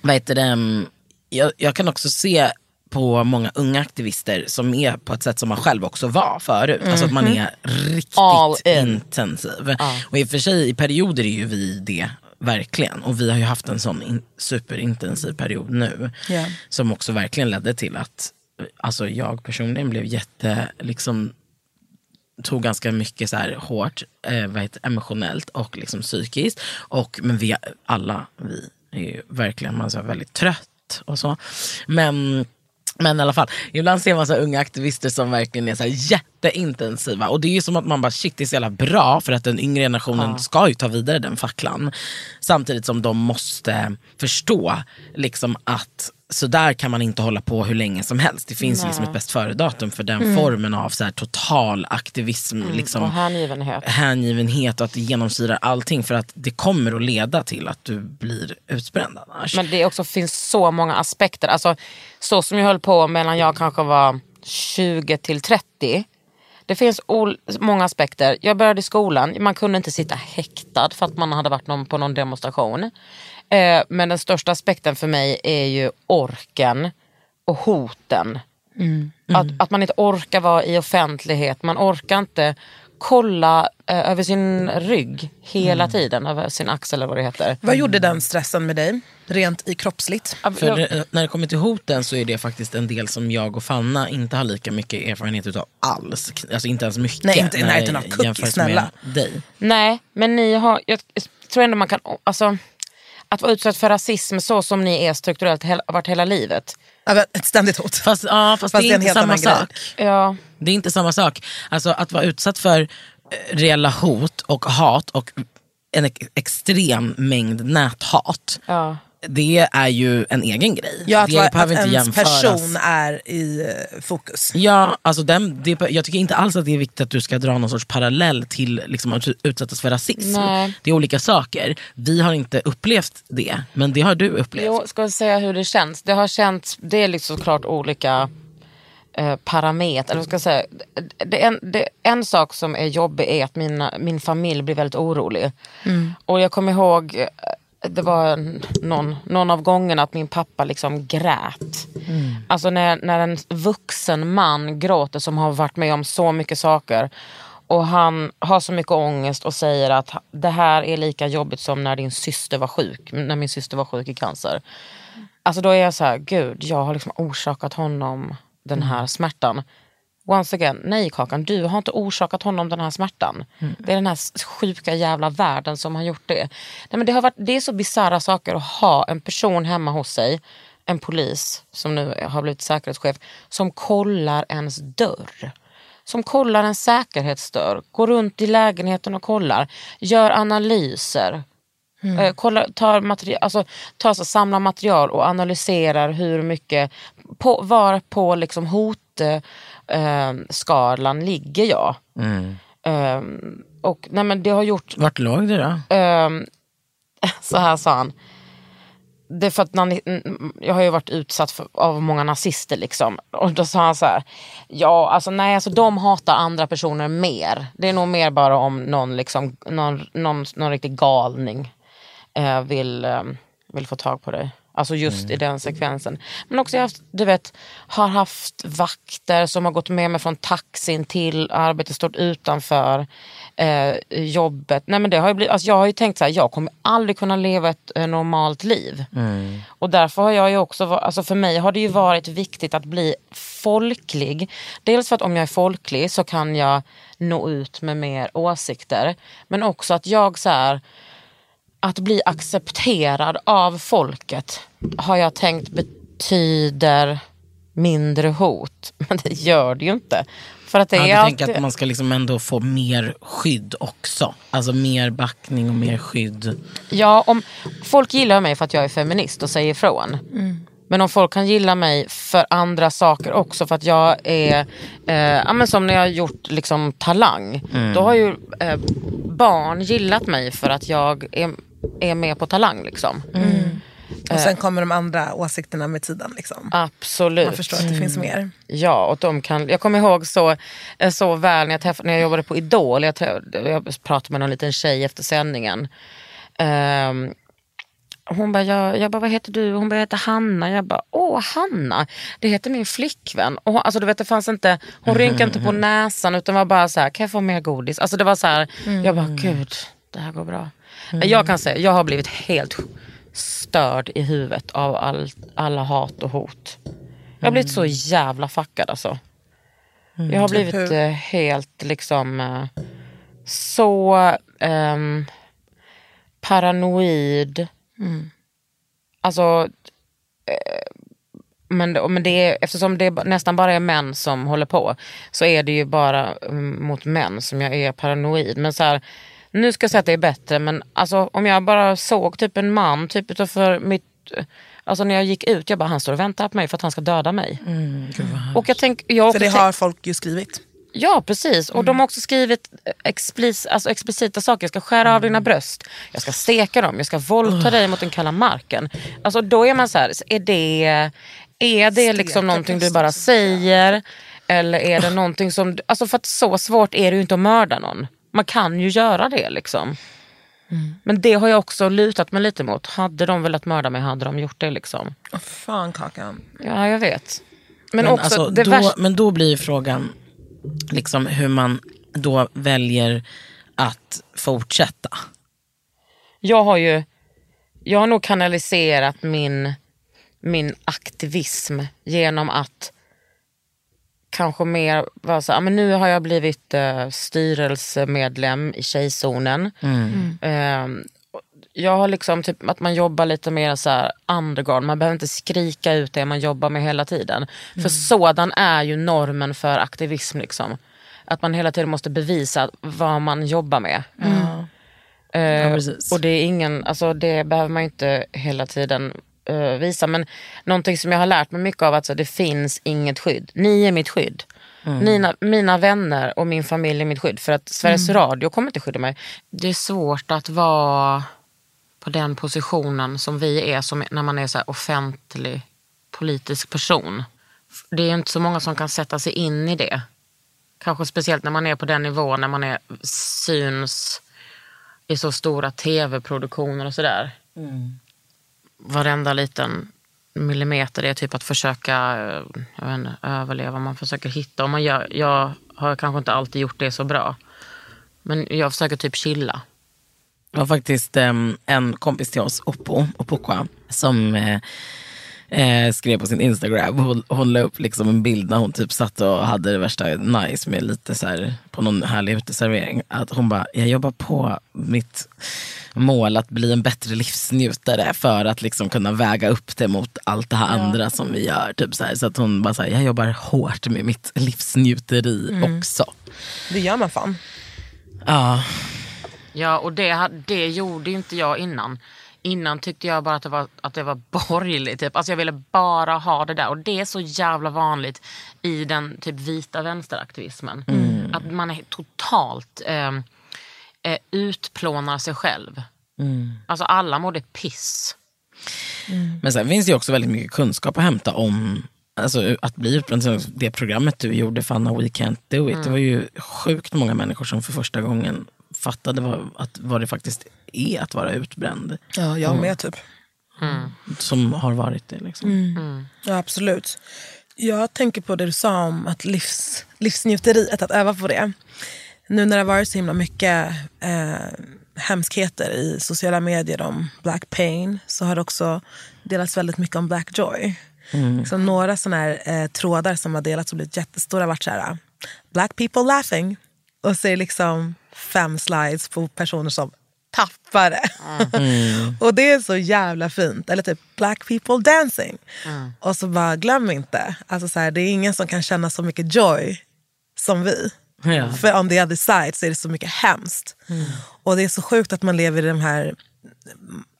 S5: Vad heter det? mm, Jag, jag kan också se på många unga aktivister som är på ett sätt som man själv också var förut. Alltså att man är riktigt
S2: Mhm. All in.
S5: intensiv. Och i och för sig i perioder är ju vi det, verkligen. Och vi har ju haft en sån in, superintensiv period nu.
S6: Ja.
S5: Som också verkligen ledde till att alltså jag personligen blev jätte, liksom, tog ganska mycket så här hårt eh, vad heter, det, emotionellt och liksom psykiskt. Och, men vi alla, vi är ju verkligen man är så här väldigt trött och så. Men, men i alla fall, ibland ser man så här unga aktivister som verkligen är så här jätteintensiva. Och det är ju som att man bara shit det är så jävla bra för att den yngre generationen ska ju ta vidare den facklan. Samtidigt som de måste förstå liksom att så där kan man inte hålla på hur länge som helst. Det finns liksom ett bäst före-datum för den formen av så här total aktivism. Liksom,
S2: och hängivenhet.
S5: hängivenhet och att det genomsyrar allting. För att det kommer att leda till att du blir utbränd annars.
S2: Men det också finns så många aspekter. Alltså, så som jag höll på mellan jag kanske var 20 till 30. Det finns ol- många aspekter. Jag började i skolan, man kunde inte sitta häktad för att man hade varit någon, på någon demonstration. Eh, men den största aspekten för mig är ju orken och hoten. Att, att man inte orkar vara i offentlighet, man orkar inte kolla eh, över sin rygg hela tiden, över sin axel eller vad det heter.
S6: Vad gjorde den stressen med dig, rent i kroppsligt?
S5: För eh, när det kommer till hoten så är det faktiskt en del som jag och Fanna inte har lika mycket erfarenhet utav alls. Alltså inte ens mycket.
S6: Nej, inte i
S5: när
S6: närheten av
S5: jag
S6: cookie,
S5: jämför med
S6: snälla.
S5: Dig.
S2: Nej, men ni har, jag tror ändå man kan, alltså att vara utsatt för rasism så som ni är strukturellt hela, varit hela livet.
S6: Ja, men Ett ständigt hot.
S5: Fast, ja, fast,
S6: Fast
S5: det
S6: det är
S5: är
S6: en
S5: inte
S6: helt
S5: samma
S6: annan grej.
S5: sak.
S2: Ja,
S5: Det är inte samma sak. Alltså att vara utsatt för eh, reella hot och hat och en ex- extrem mängd näthat.
S2: Ja.
S5: Det är ju en egen grej.
S6: Ja, att,
S5: det
S6: vara, att
S5: behöver
S6: ens
S5: inte jämföras.
S6: person är i eh, fokus.
S5: Ja, alltså den, det, jag tycker inte alls att det är viktigt att du ska dra någon sorts parallell till liksom, att utsättas för rasism.
S2: Nej.
S5: Det är olika saker. Vi har inte upplevt det, men det har du upplevt.
S2: jo, ska jag säga hur det känns? Det har känts, det är liksom såklart olika eh, parametrar. Eller vad ska jag säga, det, det, en, det, en sak som är jobbig är att mina, min familj blir väldigt orolig. Och jag kommer ihåg, eh, det var en, någon, någon av gångerna att min pappa liksom grät. Alltså när, när en vuxen man gråter som har varit med om så mycket saker. Och han har så mycket ångest och säger att det här är lika jobbigt som när din syster var sjuk. När min syster var sjuk i cancer. Alltså då är jag så här, gud jag har liksom orsakat honom den här smärtan. Once again, nej Kakan, du har inte orsakat honom den här smärtan. Det är den här s- sjuka jävla världen som har gjort det. Nej, men det, har varit, det är så bisarra saker att ha en person hemma hos sig, en polis som nu har blivit säkerhetschef, som kollar ens dörr som kollar en säkerhetsdörr, går runt i lägenheten och kollar, gör analyser, eh, kollar, tar, material, alltså, tar så, samlar material och analyserar hur mycket, på, var på liksom hotskalan eh, skalan ligger jag. Ehm, och, nej, men det har gjort
S5: Mm. Vart låg du då?
S2: Ehm, så här sa han. Det är för att nani- n- jag har ju varit utsatt för, av många nazister liksom. Och då sa han så här. Ja, alltså nej, alltså de hatar andra personer mer. Det är nog mer bara om någon, liksom, någon, någon, någon riktig galning eh, vill, eh, vill få tag på dig. Alltså just i den sekvensen. Men också jag har haft, du vet, har haft vakter som har gått med mig från taxin till arbetet, stått utanför eh, jobbet. Nej, men det har ju blivit, alltså jag har ju tänkt så här, jag kommer aldrig kunna leva ett eh, normalt liv. Och därför har jag ju också, va- alltså för mig har det ju varit viktigt att bli folklig. Dels för att om jag är folklig så kan jag nå ut med mer åsikter. Men också att jag så här, att bli accepterad av folket har jag tänkt betyder mindre hot. Men det gör det ju inte. För att det
S5: Jag
S2: är
S5: hade tänkt
S2: alltid...
S5: att man ska liksom ändå få mer skydd också. Alltså mer backning och mer skydd.
S2: Ja, om folk gillar mig för att jag är feminist och säger ifrån. Men om folk kan gilla mig för andra saker också, för att jag är, eh, ja, men som när jag har gjort liksom, Talang,
S5: Mm.
S2: då har ju eh, barn gillat mig för att jag är, är med på Talang. Liksom.
S6: Och sen kommer de andra åsikterna med tiden. Liksom.
S2: Absolut.
S6: Man förstår att det finns mer.
S2: Ja, och de kan, jag kommer ihåg så, eh, så väl när jag, träffade, när jag jobbade på Idol. Jag, trä- jag pratade med någon liten tjej efter sändningen. Ehm, hon bara, jag, jag bara, vad heter du? Hon bara, jag heter Hanna. Jag bara, åh Hanna, det heter min flickvän. Och hon, alltså, du vet, det fanns inte, hon rynkade inte på näsan utan var bara så här, kan jag få mer godis? Alltså det var så här, jag bara, gud, det här går bra. Jag kan säga, jag har blivit helt störd i huvudet av all, alla hat och hot. Jag har blivit så jävla fuckad alltså. Jag har blivit
S6: Typ hur?
S2: eh, helt liksom eh, så ehm, paranoid.
S6: Mm.
S2: Alltså, eh, men, men det är, eftersom det nästan bara är män som håller på så är det ju bara mm, mot män som jag är paranoid. Men så här, nu ska jag säga att det är bättre men alltså, om jag bara såg typ en man typ utanför mitt Alltså när jag gick ut, jag bara han står och väntar på mig för att han ska döda mig.
S6: Mm.
S2: och jag tänk, jag har
S6: För
S2: också
S6: det
S2: tänkt-
S6: har folk ju skrivit.
S2: Ja, precis. Och
S5: Mm.
S2: de har också skrivit eh, explic, alltså explicita saker. Jag ska skära av
S5: Mm.
S2: dina bröst. Jag ska steka dem. Jag ska våldta dig mot den kalla marken. Alltså, då är man så här, är det, är det liksom någonting du bara säger? Eller är det någonting som... Alltså för att så svårt är det ju inte att mörda någon. Man kan ju göra det liksom.
S5: Mm.
S2: Men det har jag också lutat mig lite mot. Hade de velat mörda mig hade de gjort det liksom.
S6: Åh, fan Kakan.
S2: Ja, jag vet. Men,
S5: Men,
S2: också
S5: alltså,
S2: det
S5: då,
S2: värsta...
S5: men då blir ju frågan liksom, hur man då väljer att fortsätta.
S2: jag har ju jag har nog kanaliserat min, min aktivism genom att kanske mer vara så här, "Ah, men nu har jag blivit eh, styrelsemedlem i Tjejzonen. Eh, och jag har liksom typ att man jobbar lite mer så här underground, man behöver inte skrika ut det man jobbar med hela tiden. För sådan är ju normen för aktivism. Liksom. Att man hela tiden måste bevisa vad man jobbar med. Eh,
S5: precis.
S2: och det, är ingen, alltså det behöver man ju inte hela tiden eh, visa. Men någonting som jag har lärt mig mycket av att så, det finns inget skydd. Ni är mitt skydd. Mina, mina vänner och min familj är mitt skydd. För att Sveriges Radio kommer inte skydda mig. Mm. Det är svårt att vara på den positionen som vi är som när man är så här offentlig politisk person. Det är ju inte så många som kan sätta sig in i det. Kanske speciellt när man är på den nivån, när man är syns i så stora tv-produktioner och sådär. Mm. Varenda liten millimeter är typ att försöka eh, jag vet inte, överleva, man försöker hitta. Och man gör, jag har kanske inte alltid gjort det så bra. Men jag försöker typ chilla.
S5: Det var faktiskt em, en kompis till oss, Oppo, Opokwa, som eh, eh, skrev på sin Instagram. Hon, hon la upp liksom en bild när hon typ satt och hade det värsta nice med lite så här, på någon härlig uteservering. Att hon bara, jag jobbar på mitt mål att bli en bättre livsnjutare för att liksom kunna väga upp det mot allt det här andra som vi gör. Typ så, här. så att hon bara, så här, jag jobbar hårt med mitt livsnjuteri också.
S6: Det gör man fan.
S5: Ja,
S2: Ja, och det, ha- det gjorde ju inte jag innan. Innan tyckte jag bara att det var, att det var borgerligt. Typ. Alltså jag ville bara ha det där. Och det är så jävla vanligt i den typ vita vänsteraktivismen. Att man är totalt eh, eh, utplånar sig själv. Alltså alla mådde piss.
S5: Men sen finns det ju också väldigt mycket kunskap att hämta om alltså, att bli utbränd. Det programmet du gjorde, Fanna We Can't Do It, det var ju sjukt många människor som för första gången fattade vad, att, vad det faktiskt är att vara utbränd.
S6: Ja, jag med typ.
S5: Som har varit det. Liksom.
S6: Ja, absolut. Jag tänker på det du sa om att livs, livsnjuteriet, att öva på det. Nu när det har varit så himla mycket eh, hemskheter i sociala medier om black pain så har det också delats väldigt mycket om black joy. Så några sådana här eh, trådar som har delats och blivit jättestora har varit så här, eh, black people laughing. Och så är det liksom fem slides på personer som tappare. och det är så jävla fint. Eller typ black people dancing. Och så bara glöm inte, alltså så här, det är ingen som kan känna så mycket joy som vi.
S5: Ja.
S6: För on the other side så är det så mycket hemskt. Och det är så sjukt att man lever i de här,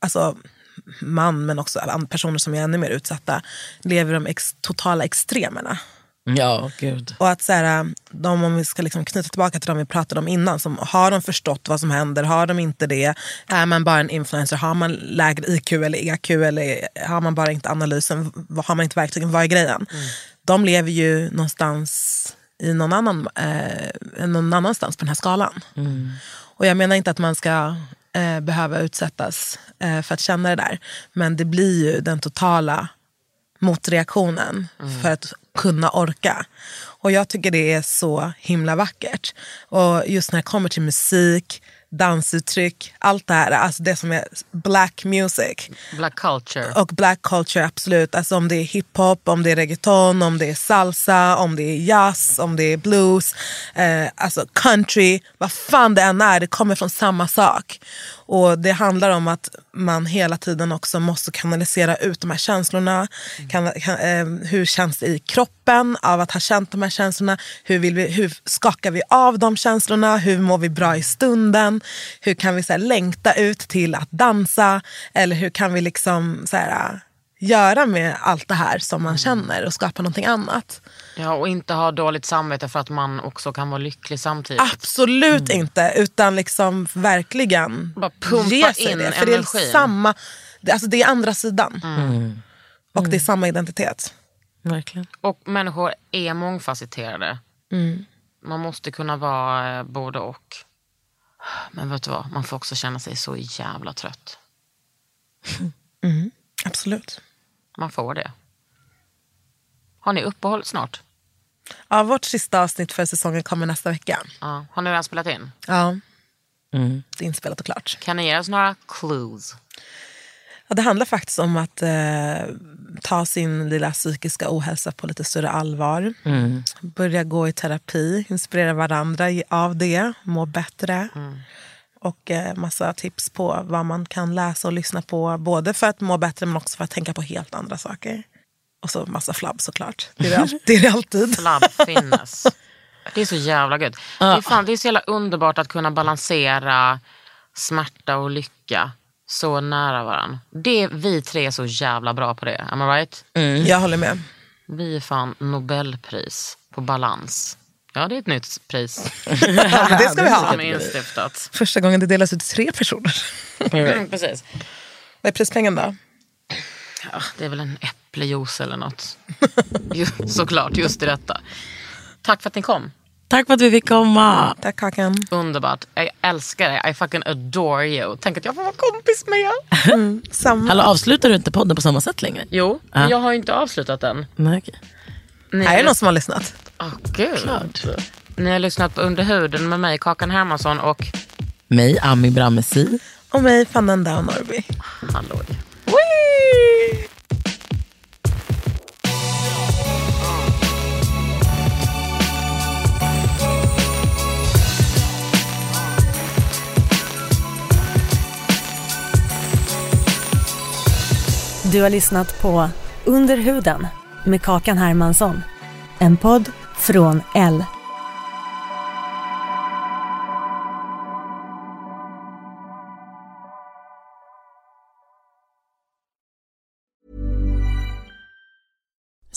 S6: alltså man men också an- personer som är ännu mer utsatta, lever i de ex- totala extremerna.
S5: Ja, gud.
S6: Och att så här, um, de, om vi ska liksom knyta tillbaka till de vi pratade om innan, som, har de förstått vad som händer? Har de inte det? Är man bara en influencer? Har man lägre IQ eller EQ? Eller har man bara inte analysen? V- Har man inte verktygen? Vad är grejen? De lever ju någonstans i någon, annan, eh, någon annanstans på den här skalan. Och jag menar inte att man ska eh, behöva utsättas eh, för att känna det där. Men det blir ju den totala motreaktionen för att kunna orka. Och jag tycker det är så himla vackert. Och just när det kommer till musik, dansuttryck, allt det här, alltså det som är black music
S2: Black culture.
S6: och black culture absolut. Alltså om det är hiphop, om det är reggaeton, om det är salsa, om det är jazz, om det är blues, eh, alltså country, vad fan det än är, det kommer från samma sak. Och det handlar om att man hela tiden också måste kanalisera ut de här känslorna. Kan, kan, eh, hur känns det i kroppen av att ha känt de här känslorna? Hur, vill vi, hur skakar vi av de känslorna? Hur mår vi bra i stunden? Hur kan vi så här, längta ut till att dansa? Eller hur kan vi liksom så här, äh, göra med allt det här som man känner och skapa någonting annat?
S2: Ja, och inte ha dåligt samvete för att man också kan vara lycklig samtidigt.
S5: Ah.
S6: Absolut inte, utan liksom verkligen
S2: Bara pumpa
S6: ge sig
S2: in
S6: det. För det är
S2: energin. Mm.
S6: samma, det- alltså det är andra sidan. Och det är samma identitet.
S5: Verkligen.
S2: Och människor är mångfacetterade. Man måste kunna vara eh, både och. Men vet du vad, man får också känna sig så jävla trött.
S6: Mm. Absolut.
S2: Man får det. Har ni uppehåll snart?
S6: Ja, vårt sista avsnitt för säsongen kommer nästa vecka.
S2: Ja. Har ni redan spelat in?
S6: Ja. Det är inspelat och klart.
S2: Kan ni ge oss några clues?
S6: Ja, det handlar faktiskt om att eh, ta sin lilla psykiska ohälsa på lite större allvar. Börja gå i terapi, inspirera varandra ge- av det, må bättre. Och eh, massa tips på vad man kan läsa och lyssna på. Både för att må bättre men också för att tänka på helt andra saker. Och så massa flabb såklart. Det är det, all- det, är det alltid.
S2: Flabb finnas. Det är så jävla gött. Det, är fan, det är så jävla underbart att kunna balansera smärta och lycka så nära varandra. Det, vi tre är så jävla bra på det. Am I right?
S6: Jag håller med.
S2: Vi är fan Nobelpris på balans. Ja, det är ett nytt pris
S6: det ska vi ha.
S2: som är instiftat.
S6: Första gången det delas ut till tre personer.
S2: Mm, precis.
S6: Vad är prispengen då?
S2: Ja, det är väl en äpplejuice eller något. Ju- Såklart, just i detta. Tack för att ni kom.
S5: Tack för att vi fick komma.
S6: Tack Kakan.
S2: Underbart. Jag älskar dig. I fucking adore you. Tänk att jag får vara kompis med er.
S6: Mm, Samma.
S5: Hallå, avslutar du inte podden på samma sätt längre?
S2: Jo, men jag har ju inte avslutat den.
S5: Nej, okej.
S2: Ni,
S6: Här är det någon som har lyssnat.
S2: Åh, gud. ni har lyssnat på Under huden med mig, Kakan Hermansson och
S5: Mig, Ami Bramesi.
S6: Och mig, Fanna Down Norby.
S2: Halloj.
S4: Du har lyssnat på Under huden med Kakan Hermansson. En podd från L.